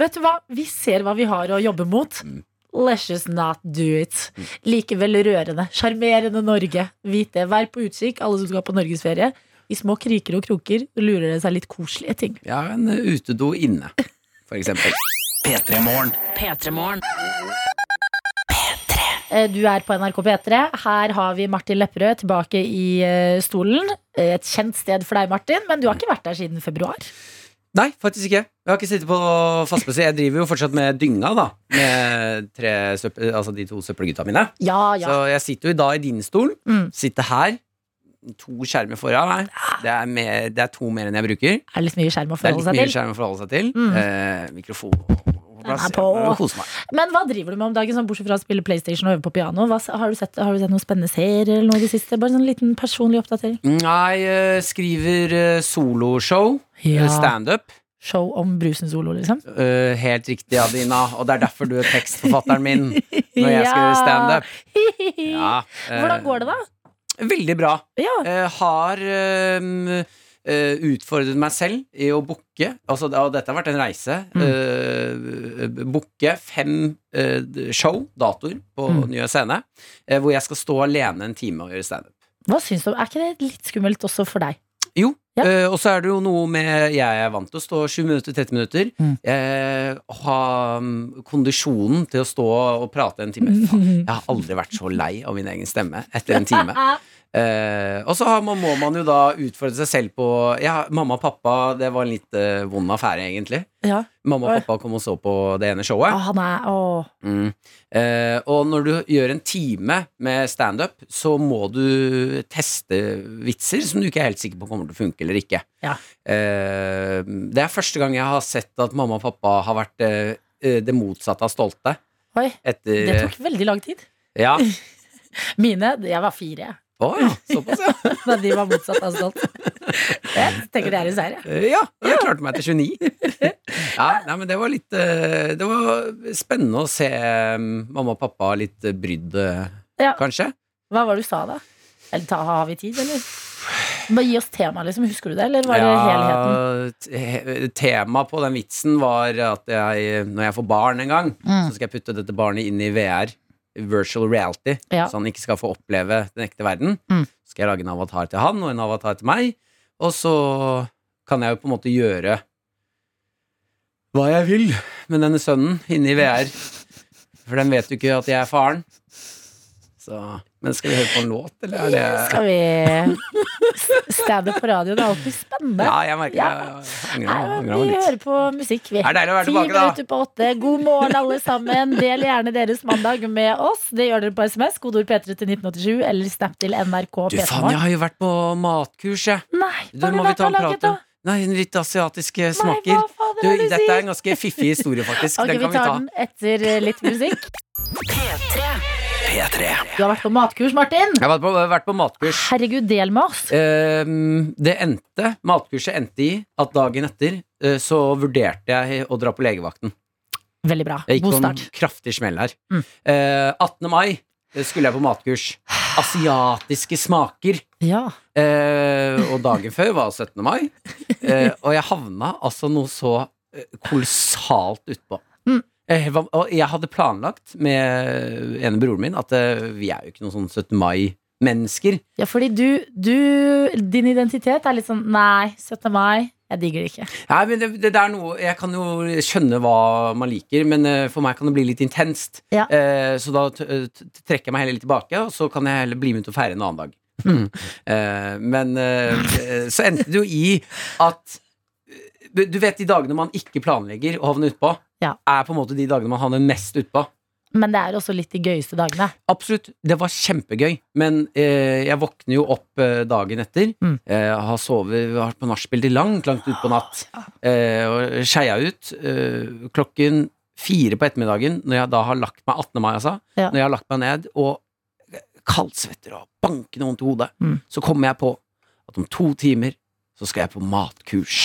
D: Vet du hva? Vi ser hva vi har å jobbe mot.
B: Mm.
D: Let's just not do it. Likevel rørende. Sjarmerende Norge. Vit det. Vær på utkikk, alle som skal på norgesferie. I små kriker og kroker lurer det seg litt koselige ting.
B: Jeg har en utedo inne, for eksempel.
C: P3morgen.
D: Eh, Du er på NRK P3. Her har vi Martin Lepperød tilbake i eh, stolen. Eh, Et kjent sted for deg, Martin, men du har ikke vært der siden februar.
B: Nei, faktisk ikke. Jeg har ikke sittet på fastmessig. Jeg driver jo fortsatt med dynga, da. Med tre søppel, altså de to søppelgutta mine.
D: Ja, ja.
B: Så jeg sitter jo i dag i din stol.
D: Mm.
B: Sitter her. To skjermer foran meg. Det er, mer, det er to mer enn jeg bruker.
D: Er det litt mye skjerm å
B: Det er litt
D: forholde seg
B: mye
D: til.
B: skjerm å forholde seg til.
D: Mm.
B: Eh, mikrofon på plass.
D: Den er på.
B: Og Kose meg.
D: Men hva driver du med om dagen, sånn, bortsett fra å spille PlayStation og øve på piano? Hva, s- har, du sett, har du sett noen spennende serier eller noe i det siste? Bare sånn liten personlig oppdatering.
B: Nei, eh, skriver eh, soloshow. eh, Standup.
D: Show om brusen solo, liksom.
B: Eh, helt riktig, Adina. Og det er derfor du er tekstforfatteren min når jeg skal
D: Ja.
B: gjøre standup. Ja, eh,
D: Hvordan går det, da?
B: Veldig bra.
D: Ja.
B: Eh, har ehm, eh, utfordret meg selv i å booke altså, det- Og dette har vært en reise.
D: Mm.
B: eh, booke fem eh, show, datoer, på
D: Mm.
B: Nye Scene. eh, hvor jeg skal stå alene en time og gjøre standup.
D: Hva syns du? om- Er ikke det litt skummelt også for deg?
B: Jo,
D: Ja.
B: eh, og så er det jo noe med Jeg er vant til å stå 20 minutter, 30 minutter.
D: Mm.
B: eh, ha mm, kondisjonen til å stå og prate en time. Faen, jeg har aldri vært så lei av min egen stemme etter en time.
D: Ah,
B: Eh, og så har man, må man jo da utfordre seg selv på ja, Mamma og pappa, det var en litt eh, vond affære, egentlig.
D: ja.
B: Mamma
D: Oi.
B: og pappa kom og så på det ene showet.
D: Å, han er å.
B: Mm. Eh, og når du gjør en time med standup, så må du teste vitser som du ikke er helt sikker på kommer til å funke eller ikke.
D: Ja.
B: Eh, det er første gang jeg har sett at mamma og pappa har vært eh, eh, det motsatte av stolte.
D: Oi.
B: Etter
D: Det tok veldig lang tid.
B: Ja.
D: Mine Jeg var fire.
B: Å ja, såpass, ja.
D: Da de var motsatt av stolt. Jeg tenker det er en seier, jeg.
B: Eh, Ja, og jeg klarte meg til 29. Ja, nei, men det var litt eh, Det var spennende å se eh, mamma og pappa litt eh, brydd, eh,
D: Ja.
B: kanskje.
D: Hva var det du sa da? Eller ta, har vi tid, eller? Bare gi oss temaet, liksom. Husker du det, eller var det
B: eh.
D: helheten?
B: helheten? Temaet på den vitsen var at jeg, når jeg får barn en gang,
D: Mm.
B: så skal jeg putte dette barnet inn i VR, virtual reality,
D: Ja.
B: så han ikke skal få oppleve den ekte verden.
D: Mm.
B: Så skal jeg lage en avatar til han og en avatar til meg, og så kan jeg jo på en måte gjøre hva jeg vil med denne sønnen inne i VR, for den vet jo ikke at jeg er faren. Så, men skal vi høre på en låt, eller er det
D: Skal vi Stand up på radio, det er alltid spennende.
B: Ja, jeg merker
D: Ja.
B: jeg angrer,
D: Nei, men
B: angrer meg
D: vi
B: litt.
D: hører på musikk, vi.
B: Det er deilig å være
D: Ti
B: tilbake, da.
D: minutter på åtte. God morgen, alle sammen. Del gjerne deres mandag med oss. Det gjør dere på SMS. Kodeord P3 til 1987 eller snap til NRK
B: Du, faen, jeg
D: P3morgen.
B: har jo vært på matkurs, jeg.
D: Nei,
B: Du,
D: hva har
B: må
D: du
B: vi
D: vært
B: ta
D: og
B: en
D: laget,
B: prat
D: da?
B: om Nei, litt asiatiske
D: Nei,
B: smaker.
D: hva fader
B: Du,
D: er det du
B: dette er
D: sier?
B: en ganske fiffig historie, faktisk.
D: Ok,
B: den
D: vi
B: kan vi
D: tar
B: ta.
D: den etter eh, litt musikk.
C: P3.
D: Du har vært på matkurs, Martin.
B: Jeg har vært på, vært på matkurs.
D: Herregud, del med oss.
B: Ehm, det endte, matkurset endte i at dagen etter eh, så vurderte jeg å dra på legevakten.
D: Veldig bra.
B: Jeg gikk
D: God
B: på en
D: start.
B: kraftig smell her.
D: Mm.
B: Eh, 18. mai eh, skulle jeg på matkurs. Asiatiske smaker.
D: Ja.
B: Eh, og dagen før var 17. mai. Eh, og jeg havna altså noe så eh, kolossalt utpå.
D: Mm.
B: Eh, hva- og jeg hadde planlagt med ene broren min at eh, vi er jo ikke noen sånn 17. mai-mennesker.
D: ja, fordi du, du Din identitet er litt sånn Nei, 17. mai. Jeg digger det ikke.
B: Nei, men det, det, det er noe Jeg kan jo skjønne hva man liker, men eh, for meg kan det bli litt intenst.
D: Ja.
B: Eh, så da t t trekker jeg meg heller litt tilbake, og så kan jeg heller bli med ut og feire en annen dag.
D: Mm.
B: Eh, men eh, så endte det jo i at du du vet de dagene man ikke planlegger å havne utpå,
D: Ja.
B: er på en måte de dagene man havner mest utpå.
D: Men det er også litt de gøyeste dagene.
B: Absolutt. Det var kjempegøy, men eh, jeg våkner jo opp eh, dagen etter.
D: Mm.
B: Eh, har sovet har vært på nachspiel til langt, langt utpå natt. Eh, og skeia ut. Eh, klokken fire på ettermiddagen, når jeg da har lagt meg 18. mai, altså.
D: Ja.
B: Når jeg har lagt meg ned og kaldsvetter og bankende vondt i hodet,
D: Mm.
B: så kommer jeg på at om to timer så skal jeg på matkurs.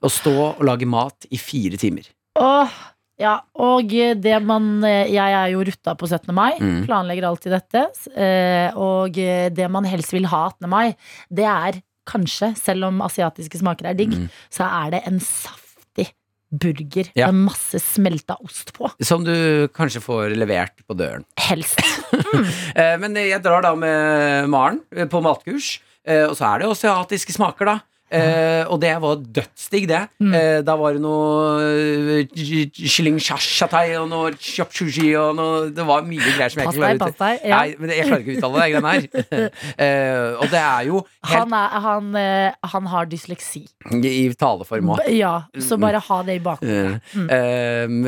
B: Og stå og lage mat i fire timer.
D: Åh, ja, og det man eh, Jeg er jo rutta på 17. mai.
B: Mm.
D: Planlegger alltid dette. eh, Og det man helst vil ha 18. mai, det er kanskje, selv om asiatiske smaker er digg,
B: Mm.
D: så er det en saftig burger
B: Ja.
D: med masse smelta ost på.
B: Som du kanskje får levert på døren.
D: Helst.
B: Eh, Men jeg drar da med Maren eh, på matkurs, eh, og så er det jo asiatiske smaker, da. Eh, og det var dødsdigg, det.
D: Mm.
B: Eh, da var det noe eh, kylling shashatai og noe chop sushi og noe Det var mye greier som jeg
D: Pass
B: ikke
D: deg,
B: klarer å
D: pass
B: uttale.
D: deg. Ja.
B: Nei, men jeg klarer ikke å uttale det, de greiene her. Eh, og det er jo helt
D: Han, er, han, eh, han har dysleksi.
B: i taleform òg.
D: B- Ja,
B: Mm.
D: så bare ha det i bakhodet.
B: Ehm,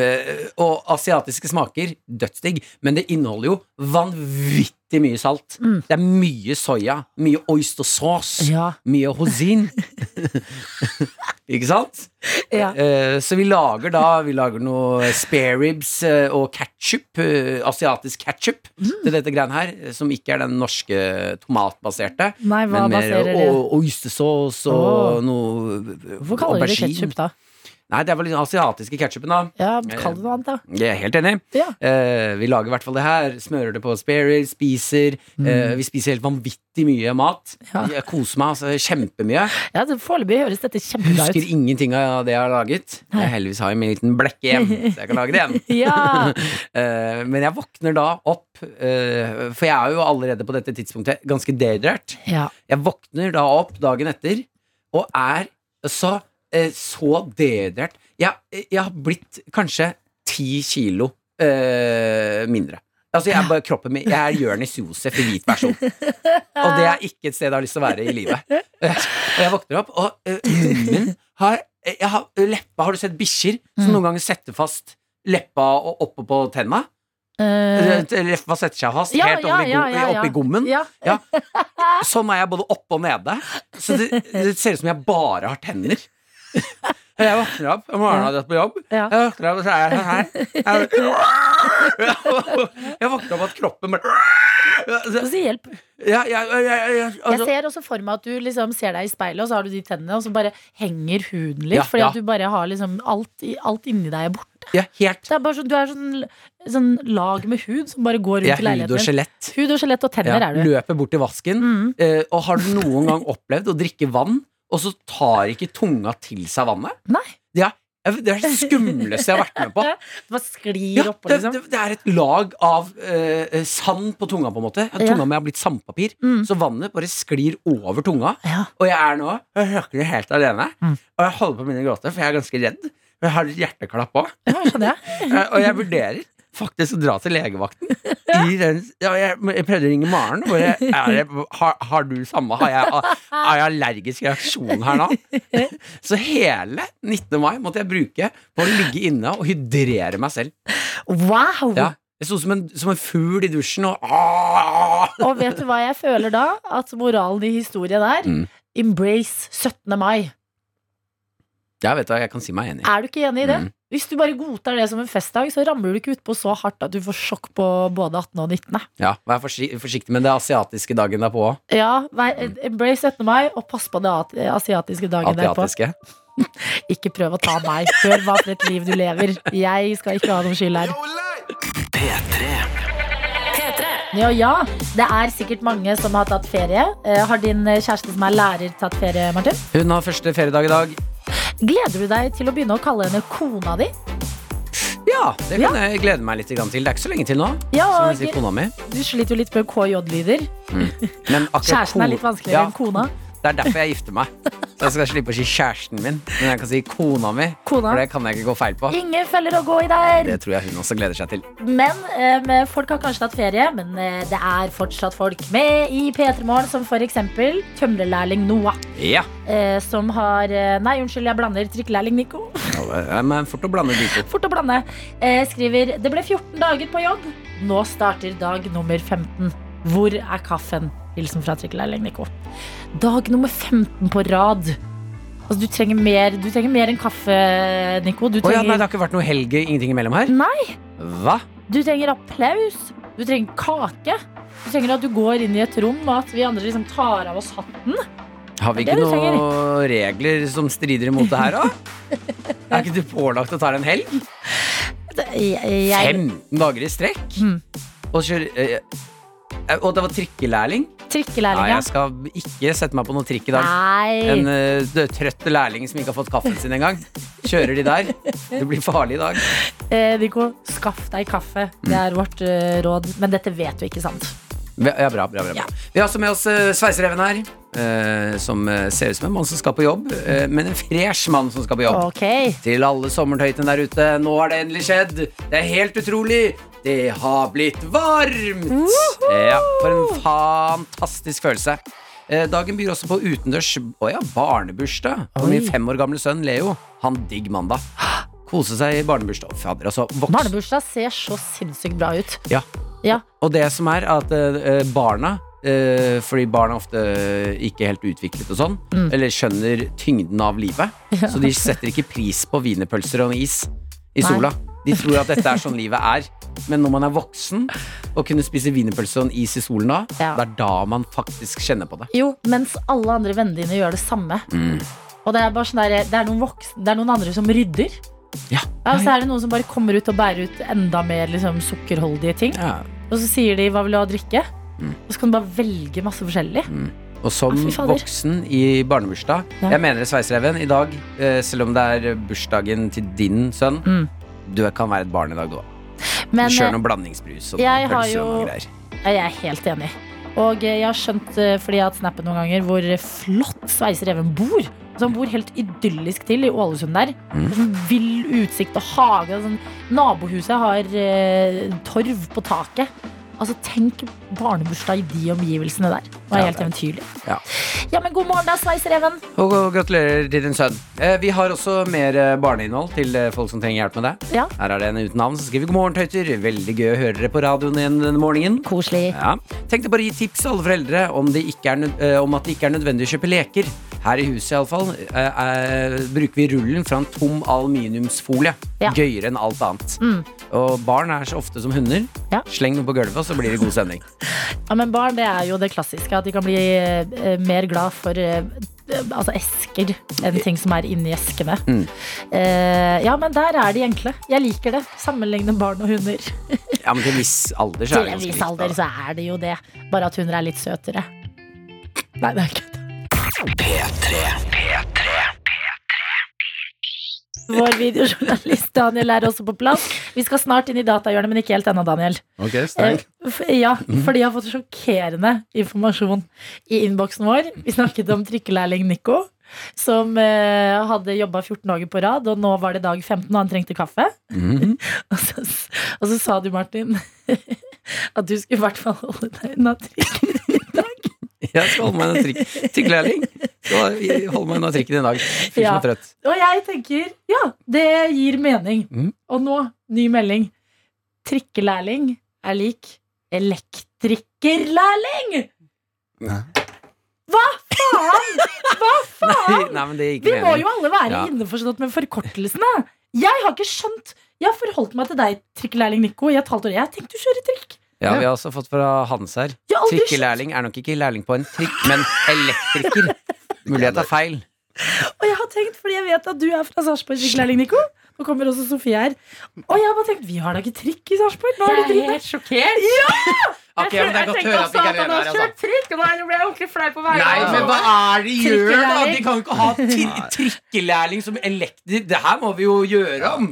B: og asiatiske smaker, dødsdigg, men det inneholder jo vanvittig mye salt.
D: Mm.
B: Det er mye soya, mye oyster sauce.
D: Ja,
B: Mye hosin. Ikke sant?
D: ja.
B: Eh, så vi lager da Vi lager noe spareribs eh, og ketchup. Eh, asiatisk ketchup
D: Mm.
B: til dette greiene her, eh, som ikke er den norske tomatbaserte.
D: Nei, hva
B: men mer
D: baserer du?
B: o- oystersaus og
D: Åh.
B: noe
D: Hvorfor kaller du det ketsjup, da?
B: Nei, det er vel den asiatiske ketsjupen, da.
D: Ja, Kall det noe annet, da.
B: Jeg er helt enig.
D: Ja.
B: Eh, vi lager i hvert fall det her. Smører det på spareribs, spiser. Eh, vi spiser helt vanvittig mye mat.
D: Mm. Ja.
B: Jeg koser meg altså, kjempemye.
D: Ja, det- Foreløpig høres dette kjempebra
B: Husker
D: ut.
B: ingenting av det jeg har laget. Jeg heldigvis har jeg min liten blekke hjem, så jeg kan lage det igjen.
D: Ja,
B: Eh, men jeg våkner da opp, eh, for jeg er jo allerede på dette tidspunktet ganske dehydrert.
D: ja.
B: Jeg våkner da opp dagen etter og er så, eh, så dehydrert. Jeg, jeg har blitt kanskje ti kilo eh, mindre. Altså, jeg er bare kroppen min Jeg er Jonis Josef i hvit versjon. Og det er ikke et sted jeg har lyst til å være i livet. Eh, Og jeg våkner opp, og eh, munnen min har, eh, jeg har Leppa Har du sett bikkjer som
D: Mm.
B: noen ganger setter fast leppa og oppe på tenna?
D: Eh,
B: Leppa setter seg fast
D: ja,
B: helt
D: ja,
B: oppi,
D: ja,
B: go-
D: ja, ja.
B: oppi gommen.
D: ja.
B: Sånn er jeg både oppe og nede. Så det, det ser ut som jeg bare har tenner. Jeg våkner opp om morgenen har dratt på jobb.
D: Ja.
B: Jeg våkner opp, og så er jeg sånn her. Jeg, jeg våkner opp at kroppen bare
D: Og så hjelp.
B: Ja, ja, ja, ja, ja,
D: Jeg
B: altså-
D: ser også for meg at du liksom ser deg i speilet, og så har du de tennene, og så bare henger huden litt.
B: Ja,
D: fordi
B: ja.
D: at du bare har liksom alt, i- alt inni deg er borte.
B: ja, helt.
D: Det er bare sånn, du er sånn, sånn lag med hud som bare går rundt i
B: Jeg er hud og
D: leiligheten.
B: skjelett.
D: Hud og skjelett og tenner
B: Ja,
D: er du.
B: løper bort til vasken.
D: Mm.
B: Eh, og har du noen gang opplevd å drikke vann, og så tar ikke tunga til seg vannet?
D: Nei.
B: Ja, det er det skumleste jeg har vært med på.
D: Det bare sklir
B: Ja,
D: oppå,
B: det,
D: liksom.
B: det, det er et lag av eh, sand på tunga, på en måte. Ja,
D: Ja.
B: tunga mi har blitt sandpapir,
D: Mm.
B: så vannet bare sklir over tunga.
D: Ja.
B: Og jeg er nå jeg snakker helt alene,
D: Mm.
B: og jeg holder på å begynne å gråte, for jeg er ganske redd. Og jeg har et hjerteklapp òg.
D: sånn, Ja, skjønner jeg.
B: Eh, Og jeg vurderer faktisk å dra til legevakten. I den, ja, jeg, jeg prøvde å ringe Maren. og Bare, er det, har, har du samme? Har jeg, har jeg allergisk reaksjon her nå? Så hele 19. mai måtte jeg bruke på å ligge inne og hydrere meg selv.
D: Wow!
B: Ja. Jeg sto som en, som en fugl i dusjen og «Aah!»
D: Og vet du hva jeg føler da? At moralen i historien er
B: Mm.
D: embrace 17. mai.
B: Ja, vet du hva, jeg kan si meg enig.
D: Er du ikke enig i det?
B: Mm.
D: Hvis du bare godtar det som en festdag, så ramler du ikke utpå så hardt at du får sjokk på både 18. og 19.
B: Ja, Vær forsi- forsiktig med det asiatiske dagen derpå òg.
D: Ja, vær, Mm. embrace 17. mai, og pass på det at- eh, asiatiske dagen derpå.
B: Asiatiske.
D: Ikke prøv å ta meg. Hør hva for et liv du lever. Jeg skal ikke ha noen skyld her.
C: P3.
D: Ja, ja, det er sikkert mange som har tatt ferie. Eh, Har din kjæreste som er lærer tatt ferie, Martin?
B: Hun har første feriedag i dag.
D: Gleder du deg til å begynne å kalle henne kona di?
B: Ja, det kan jeg glede meg litt grann til. Det er ikke så lenge til nå.
D: Ja,
B: Som jeg sier kona mi.
D: du sliter jo litt med KJ-lyder.
B: Men akkurat
D: Kjæresten er
B: ko-
D: litt vanskeligere
B: Ja,
D: enn kona.
B: Det er derfor jeg gifter meg. Så jeg skal slippe å si kjæresten min, men jeg kan si kona mi.
D: Kona.
B: For det kan jeg ikke gå feil på.
D: Ingen feller å gå i der!
B: Det tror jeg hun også gleder seg til.
D: Men eh, folk har kanskje tatt ferie, men eh, det er fortsatt folk med i P3 Morgen, som f.eks. tømrerlærling Noah.
B: Ja,
D: eh, Som har eh, Nei, unnskyld, jeg blander. Trikkelærling Nico.
B: ja, Men fort å blande de to.
D: Fort å blande. Eh, Skriver det ble 14 dager på jobb. Nå starter dag nummer 15. Hvor er kaffen? Hilsen fra trikkelærling Nico. Dag nummer 15 på rad. Altså, du, trenger mer, du trenger mer enn kaffe, Nico. Du
B: Å ja, nei,
D: trenger,
B: det har ikke vært noe helg, ingenting imellom her?
D: Nei.
B: Hva?
D: du trenger applaus. Du trenger kake. Du trenger at du går inn i et rom, og at vi andre liksom tar av oss hatten.
B: Har vi
D: Det er
B: ikke
D: det du
B: noen regler som strider imot det her, da? Er ikke du pålagt å ta deg en helg?
D: Jeg, jeg,
B: 15 dager i strekk?
D: Mm.
B: Og kjøre eh, eh, Og det var trikkelærling? Nei,
D: trikkelærling, ja.
B: jeg skal ikke sette meg på noe trikk i dag. En
D: Nei.
B: eh, død- trøtt lærling som ikke har fått kaffen sin engang. Kjører de der? Det blir farlig i dag.
D: Eh, Nico, skaff deg kaffe. Det er vårt eh, råd. Men dette vet du ikke, sant?
B: Ja, bra, bra, bra,
D: Ja.
B: bra. Vi har også med oss eh, sveisereven her. eh, som eh, ser ut som en mann som skal på jobb, eh, men en fresh mann som skal på jobb.
D: Ok.
B: Til alle sommertøytene der ute, nå har det endelig skjedd. Det er helt utrolig. Det har blitt varmt. Ja, for en fantastisk følelse. Eh, Dagen byr også på utendørs å ja, barnebursdag. Og min fem år gamle sønn Leo, han digg mandag. Kose seg i barnebursdag. Fader, altså, voks.
D: Barnebursdag ser så sinnssykt bra ut.
B: Ja.
D: Ja.
B: Og det som er at eh, barna eh, fordi barn er ofte ikke helt utviklet og sånn,
D: Mm.
B: eller skjønner tyngden av livet. Så de setter ikke pris på wienerpølser og is i
D: Nei.
B: sola. De tror at dette er sånn livet er. Men når man er voksen og kunne spise wienerpølse og en is i solen da,
D: Ja.
B: det er da man faktisk kjenner på det.
D: Jo, mens alle andre vennene dine gjør det samme. Og det er bare sånn der, det, er noen voksne, det er noen andre som rydder.
B: Ja.
D: Ja, og så er det noen som bare kommer ut og bærer ut enda mer liksom, sukkerholdige ting.
B: Ja.
D: Og så sier de 'hva vil du ha å drikke?'
B: Mm.
D: Og så kan du bare velge masse forskjellig.
B: Og som
D: Ah, fy fader.
B: voksen i barnebursdag
D: Ja.
B: Jeg mener det, Sveisereven, i dag, eh, selv om det er bursdagen til din sønn,
D: Mm.
B: du kan være et barn i dag, du òg.
D: Men
B: Kjør
D: eh,
B: noe blandingsbrus og
D: jeg
B: noen
D: har
B: pølser og
D: jo-
B: noe greier.
D: jeg er helt enig. Og eh, jeg har skjønt, eh, fordi jeg har hatt snappet noen ganger, hvor flott Sveisereven bor. Altså, han bor helt idyllisk til i Ålesund der.
B: Mm.
D: Det er Sånn vill utsikt og hage. og Sånn. Nabohuset har eh, torv på taket. Altså, Tenk barnebursdag i de omgivelsene der. Det var
B: Ja,
D: helt
B: det er-
D: eventyrlig.
B: ja.
D: Ja, men god morgen, da, Sveisereven.
B: Og og gratulerer til din sønn. Eh, vi har også mer eh, barneinnhold til eh, folk som trenger hjelp med det.
D: Ja.
B: Her er det en uten navn som skriver god morgen, tøyter. Veldig gøy å høre dere på radioen igjen denne morgenen.
D: Koselig.
B: Ja. Tenkte bare å gi tips til alle foreldre om, det ikke er, nød- eh, om at det ikke er nødvendig å kjøpe leker. Her i huset iallfall eh, bruker vi rullen fra en tom aluminiumsfolie.
D: Ja.
B: Gøyere enn alt annet.
D: Mm.
B: Og barn er så ofte som hunder.
D: Ja.
B: Sleng noe på gulvet, og så blir det god stemning.
D: Ja, men barn det er jo det klassiske, at de kan bli eh, mer glad for eh, altså esker enn ting som er inni eskene.
B: Mm.
D: Eh, ja, men der er de enkle. Jeg liker det. Sammenligne barn og hunder.
B: Ja, men til en viss alder så er
D: Til en
B: det ganske
D: viss
B: likt,
D: alder
B: da.
D: så er det jo det. Bare at hunder er litt søtere. Nei, det er ikke det. Vår videojournalist Daniel er også på plass. Vi skal snart inn i datahjørnet, men ikke helt ennå, Daniel.
B: Ok,
D: Eh,
B: sterk.
D: f- Ja, for de har fått sjokkerende informasjon i innboksen vår. Vi snakket om trykkelærling Nico, som eh, hadde jobba 14 dager på rad, og nå var det dag 15, og han trengte kaffe.
B: Mhm.
D: Og så, s- og så sa du, Martin, at du skulle i hvert fall holde deg unna trykk.
B: Jeg skal holde meg unna trikk- trikkelærling. Skal holde meg unna trikken i dag. Fyr som
D: Ja.
B: er trøtt.
D: Og jeg tenker, ja, det gir mening.
B: Mhm.
D: Og nå, ny melding. Trikkelærling er lik elektrikerlærling!
B: Nei, nei, men det gikk
D: Vi må jo alle være
B: Ja.
D: innforstått med forkortelsene. Jeg har ikke skjønt Jeg har forholdt meg til deg, trikkelærling Nico, i et halvt år. Jeg har tenkt du kjører trikk.
B: Ja, vi har også fått fra Hans her.
D: Jeg har aldri skjønt,
B: Trikkelærling er nok ikke lærling på en trikk, men elektriker. Mulighet er feil.
D: og jeg har tenkt, fordi jeg vet at du er fra Sarpsborg, trikkelærling Nico. Nå kommer også Sofie her. Og jeg har bare tenkt, vi har da ikke trikk i Sarpsborg? Nå er det
E: Jeg er
D: dritt.
E: helt sjokkert.
B: Ok, men det er godt å høre at vi ikke er enige her, altså.
E: trikk, og nå ble jeg ordentlig flau på vegne
B: Nei,
E: av
B: men
E: alle.
B: hva er det de gjør, da?
E: Trikkelærling.
B: De kan jo ikke ha tri- trikkelærling som elektriker. Det her må vi jo gjøre om.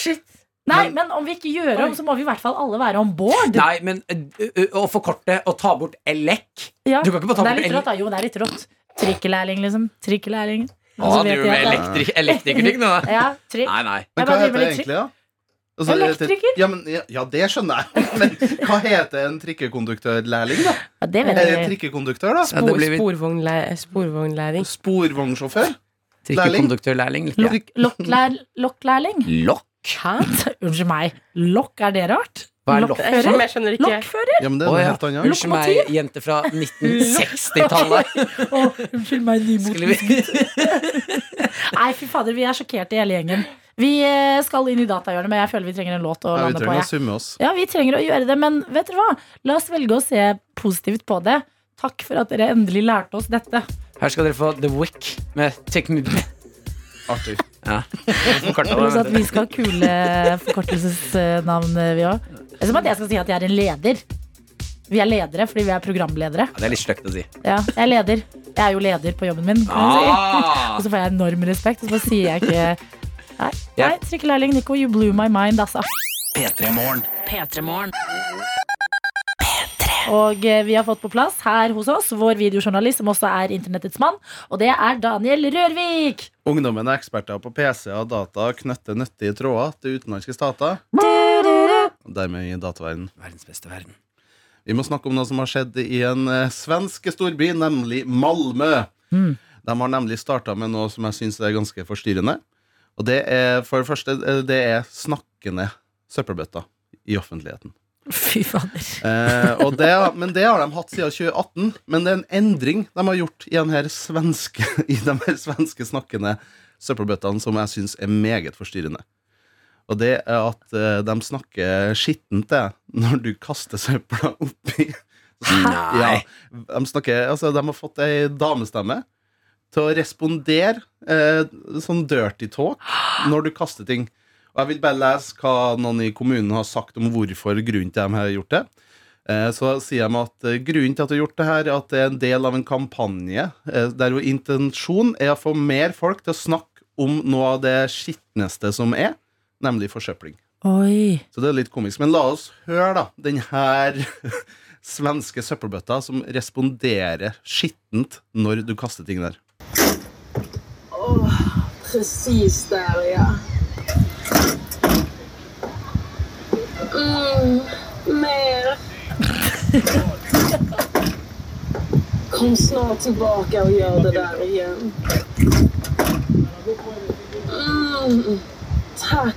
E: Shit.
D: Nei, men om vi ikke gjør om, så må vi i hvert fall alle være om bord.
B: Nei, men ø, ø, å forkorte og ta bort elek
D: Ja.
B: Du kan ikke bare ta
D: Det er
B: bort
D: litt
B: el-
D: rått, da. Jo, det er litt rått. Trikkelærling, liksom. Trikkelærling. Og så
B: Hva
D: vet
B: driver du
D: jeg
B: med
D: at-
B: elektri elektrikerting nå?
D: Ja, trikk.
B: Nei, nei.
D: Jeg
G: Men
D: bare
G: hva
D: driver
G: heter det
D: litt
G: egentlig, da? Altså,
D: Elektriker?
G: Ja, men, ja, ja, det skjønner jeg. Men hva heter en trikkekonduktørlærling, da?
D: Ja, det vet
G: Eller
D: jeg ikke.
G: trikkekonduktør, da?
B: Ja, det blir vi-
E: Sporvognlæ- Sporvognlæring.
G: Sporvognsjåfør?
B: Trikkekonduktørlærling. Ja.
G: Trikk-
D: Lokklær- Lokklærling.
B: Lokk?
D: Unnskyld meg. Lokk, er det rart?
B: Hva er lokk?
E: Jeg skjønner, jeg skjønner ikke.
D: Lokkfører?
G: Ja, men det
B: Å,
G: er noe
B: ja.
G: helt annet.
B: Unnskyld meg, jente fra 1960-tallet.
D: Å, unnskyld meg, nymoten.
B: Skulle vi
D: Nei, fy fader, vi er sjokkerte hele gjengen. Vi eh, skal inn i datahjørnet, men jeg føler vi trenger en låt å
G: Ja, vi
D: lande på.
G: trenger å
D: Jeg.
G: summe oss.
D: Ja, vi trenger å gjøre det, men vet dere hva? La oss velge å se positivt på det. Takk for at dere endelig lærte oss dette.
B: Her skal dere få The Wick med Take Me Back.
G: Artig.
B: Ja.
D: Pluss at vi skal ha kule forkortelsesnavn, eh, vi òg. Det er som at jeg skal si at jeg er en leder. Vi er ledere fordi vi er programledere.
B: Det er litt sløkt å si.
D: Ja, jeg er leder. Jeg er jo leder på jobben min. Kan man si. Og
B: Ah!
D: så får jeg enorm respekt, og så bare sier jeg ikke Nei,
B: Ja.
D: nei trikkelærling Nico, you blew my mind, altså.
C: P3-morgen.
D: Og eh, vi har fått på plass her hos oss vår videojournalist, som også er internettets mann, og det er Daniel Rørvik.
G: Ungdommen er eksperter på PC og data og knytter nyttige tråder til utenlandske stater. Og dermed i dataverden.
B: Verdens beste verden.
G: Vi må snakke om noe som har skjedd i en eh, svensk storby, nemlig Malmö.
D: Mm.
G: De har nemlig starta med noe som jeg syns er ganske forstyrrende. Og det er for det første eh, det er snakkende søppelbøtter i offentligheten.
D: Fy fader.
G: Eh, og det, men det har de hatt siden 2018. Men det er en endring de har gjort i, den her svenske, i de her svenske snakkende søppelbøttene som jeg syns er meget forstyrrende. Og det er at eh, de snakker skittent til deg når du kaster søpla oppi. Ja,
B: Nei.
G: de, snakker, altså, de har fått ei damestemme til å respondere eh, sånn dirty talk når du kaster ting. Og jeg vil bare lese hva noen i kommunen har sagt om hvorfor grunnen til at de har gjort det. Eh, Så sier de at eh, grunnen til at de har gjort det her, er at det er en del av en kampanje eh, der jo intensjonen er å få mer folk til å snakke om noe av det skitneste som er, nemlig forsøpling.
D: Oi.
G: Så det er litt komisk. Men la oss høre, da, den her svenske søppelbøtta som responderer skittent når du kaster ting der.
H: Precis där ja. Mm, mer. Kom snart tillbaka och gör det där igen. Mm, tack.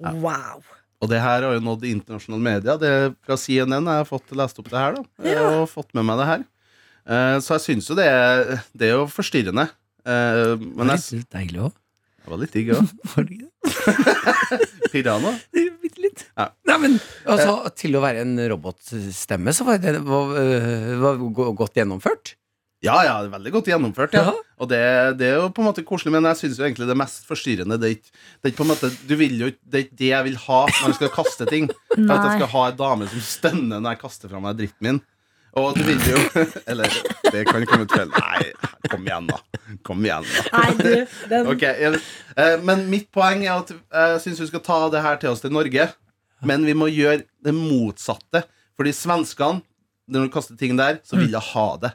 E: Wow.
G: Og det her har jo nådd internasjonale media. Det er fra CNN jeg har fått lest opp det her, da. Og fått med meg det her. Eh, Så jeg syns jo det er, det er jo forstyrrende. Eh, Men jeg,
B: litt deilig òg.
G: det var litt digg òg. Piranha.
B: Bitte litt. Nei, men
G: Eh.
B: altså, Til å være en robotstemme, så var det var, øh, var go- godt gjennomført.
G: Ja, ja, det er veldig godt gjennomført. Ja.
B: Ja.
G: Og det, det er jo på en måte koselig, men jeg syns jo egentlig det mest forstyrrende det er ikke, det er ikke på en måte, du vil jo, ikke- det er ikke det jeg vil ha når jeg skal kaste ting. Det er At jeg
D: Nei.
G: skal ha ei dame som stønner når jeg kaster fra meg dritten min. Og du vil jo Eller det kan komme ut feil. Nei, kom igjen, da. Kom igjen, da.
E: Nei, du, den
G: Ok, jeg, eh, men mitt poeng er at eh, jeg syns vi skal ta det her til oss til Norge. Men vi må gjøre det motsatte. Fordi svenskene, når du kaster ting der, så
E: Mm.
G: vil de ha det.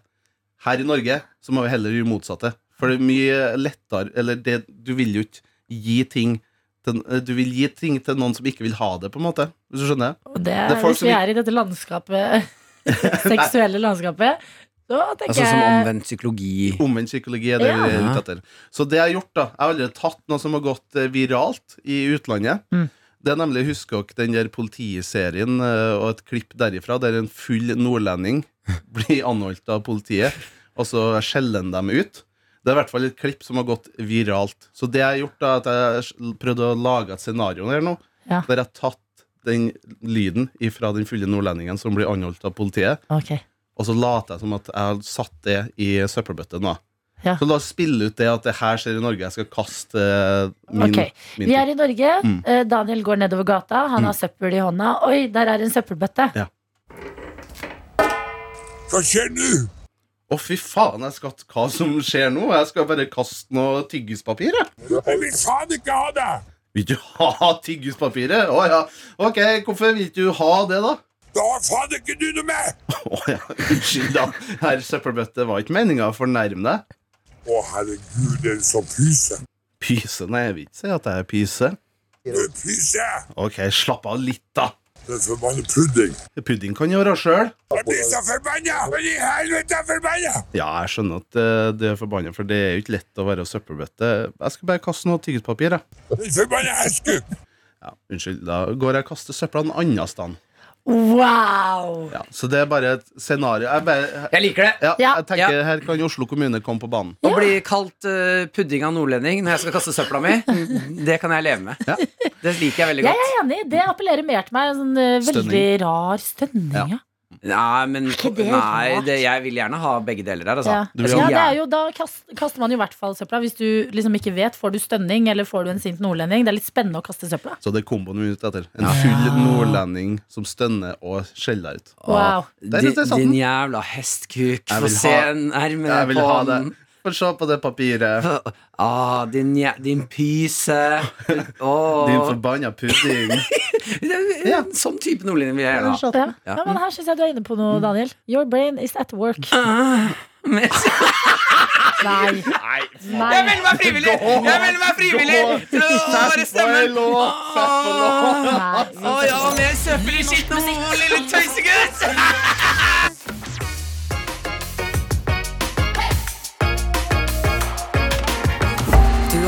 G: Her i Norge så må vi heller gjøre motsatte. For det er mye lettere Eller det, du vil jo ikke gi ting til, eh, Du vil gi ting til noen som ikke vil ha det, på en måte. Hvis du skjønner?
D: Og det,
G: Det er folk
D: hvis
G: som
D: vi
G: ikke-
D: er i dette landskapet, seksuelle landskapet, så tenker
B: Altså Som
D: jeg
B: omvendt psykologi.
G: Omvendt psykologi er det
D: Ja.
G: vi er ute etter. Så det jeg har gjort, da Jeg har allerede tatt noe som har gått eh, viralt i utlandet.
D: Mm.
G: Det er nemlig, husker dere den der politiserien eh, og et klipp derifra, der en full nordlending blir anholdt av politiet, og så skjeller han dem ut. Det er i hvert fall et klipp som har gått viralt. Så det jeg har gjort, da, er at jeg s- prøvde å lage et scenario her nå,
D: Ja.
G: der jeg har tatt den lyden fra den fulle nordlendingen som blir anholdt av politiet,
D: Ok.
G: og så later jeg som at jeg har satt det i søppelbøtten. da.
D: Ja.
G: Så la oss spille ut det at det her skjer i Norge. Jeg skal kaste eh, min,
D: Ok,
G: min
D: Vi er i Norge.
G: Mm.
D: Eh, Daniel går nedover gata. Han har søppel i hånda. Oi, der er en søppelbøtte.
I: Hva skjer nå?
G: Å, fy faen, jeg skatt hva som skjer nå. Jeg skal bare kaste noe tyggispapir. jeg.
I: Jeg vil faen ikke ha det!
G: Vil du ha tyggispapiret? Å ja. Ok, hvorfor vil ikke du ha det, da?
I: Da har faen ikke du noe med!
G: Å ja, unnskyld, da. Herr søppelbøtte, var ikke meninga å fornærme deg.
I: Å, herregud, det er en sånn pyse.
G: Pyse? Nei, jeg vil ikke si at jeg er pyse.
I: Du pyse!
G: Ok, slapp av litt, da.
I: Den forbanna pudding.
G: Pudding kan gjøre sjøl.
I: Jeg blir så forbanna! Men i helvete er forbanna!
G: Ja, jeg skjønner at eh, det er forbanna, for det er jo ikke lett å være søppelbøtte. Jeg skal bare kaste noe tyggispapir, jeg.
I: Den forbanna hestkuk!
G: Ja, unnskyld, da går jeg og kaster søpla en annen sted.
D: Wow!
G: Ja, så det er bare et scenario. Jeg, bare,
B: Jeg liker det!
G: ja,
D: Ja.
G: jeg tenker her kan Oslo kommune komme på banen.
B: Å bli kalt øh, pudding av nordlending når jeg skal kaste søpla mi, det kan jeg leve med.
G: Ja.
B: Det liker jeg veldig
D: Jeg
B: godt.
D: er enig. Det appellerer mer til meg. En sånn eh,
G: Stønning.
D: veldig rar stønning.
G: Ja.
D: Ja.
B: Nei, men
D: ikke det
B: nei,
D: rart?
B: det, jeg vil gjerne ha begge deler her, altså.
D: Ja.
G: Du
B: Jeg
G: vil
B: skal
D: Ja, det
B: gjerne-
D: er jo, da kast- kaster man jo i hvert fall søpla. Hvis du liksom ikke vet, får du stønning eller får du en sint nordlending? Det er litt spennende å kaste søpla.
G: Så det er komboen vi er ute etter. En full nordlending som stønner og skjeller ut.
D: Wow.
G: Der ute
B: Din,
G: satt den.
B: din jævla hestkuk.
G: Jeg
B: Få
G: vil
B: se
G: ha-
B: nærmere
G: Jeg vil
B: på
G: ha det.
B: den.
G: Få se på det papiret.
B: Ah, din, jæ- din pyse.
G: Din
B: Åh
G: forbanna pudding. Ja.
B: En sånn type nordlending vil jeg gjerne ha.
D: Ja.
B: Ja.
D: Ja, Mm. men her syns jeg du er inne på noe, Daniel. Your brain is at work.
B: Men-
D: Nei.
B: Jeg
D: Nei.
B: melder meg frivillig! Jeg melder meg frivillig til å bare stemme! Åh,
D: Nei.
B: åh, ja, mer søppel i skitten om noe, lille tøysegutt!
A: Du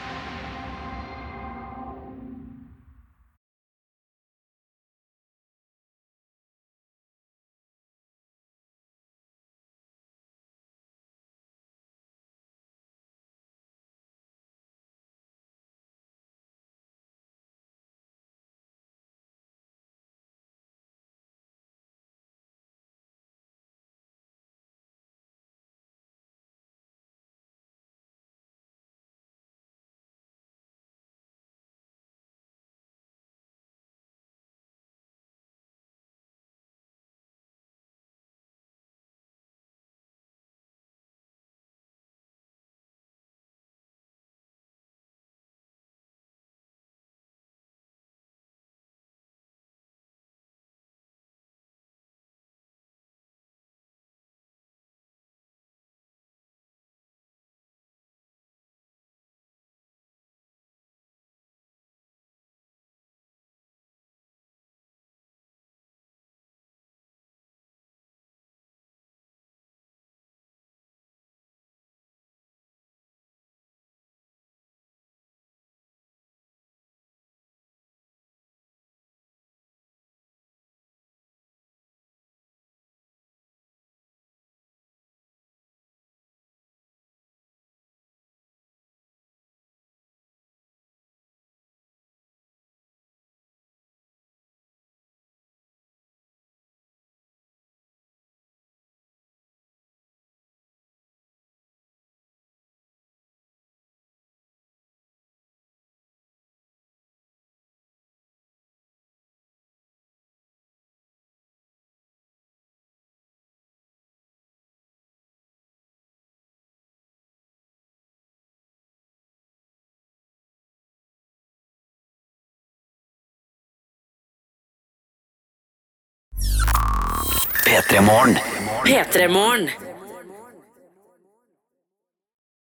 C: P3-morgen.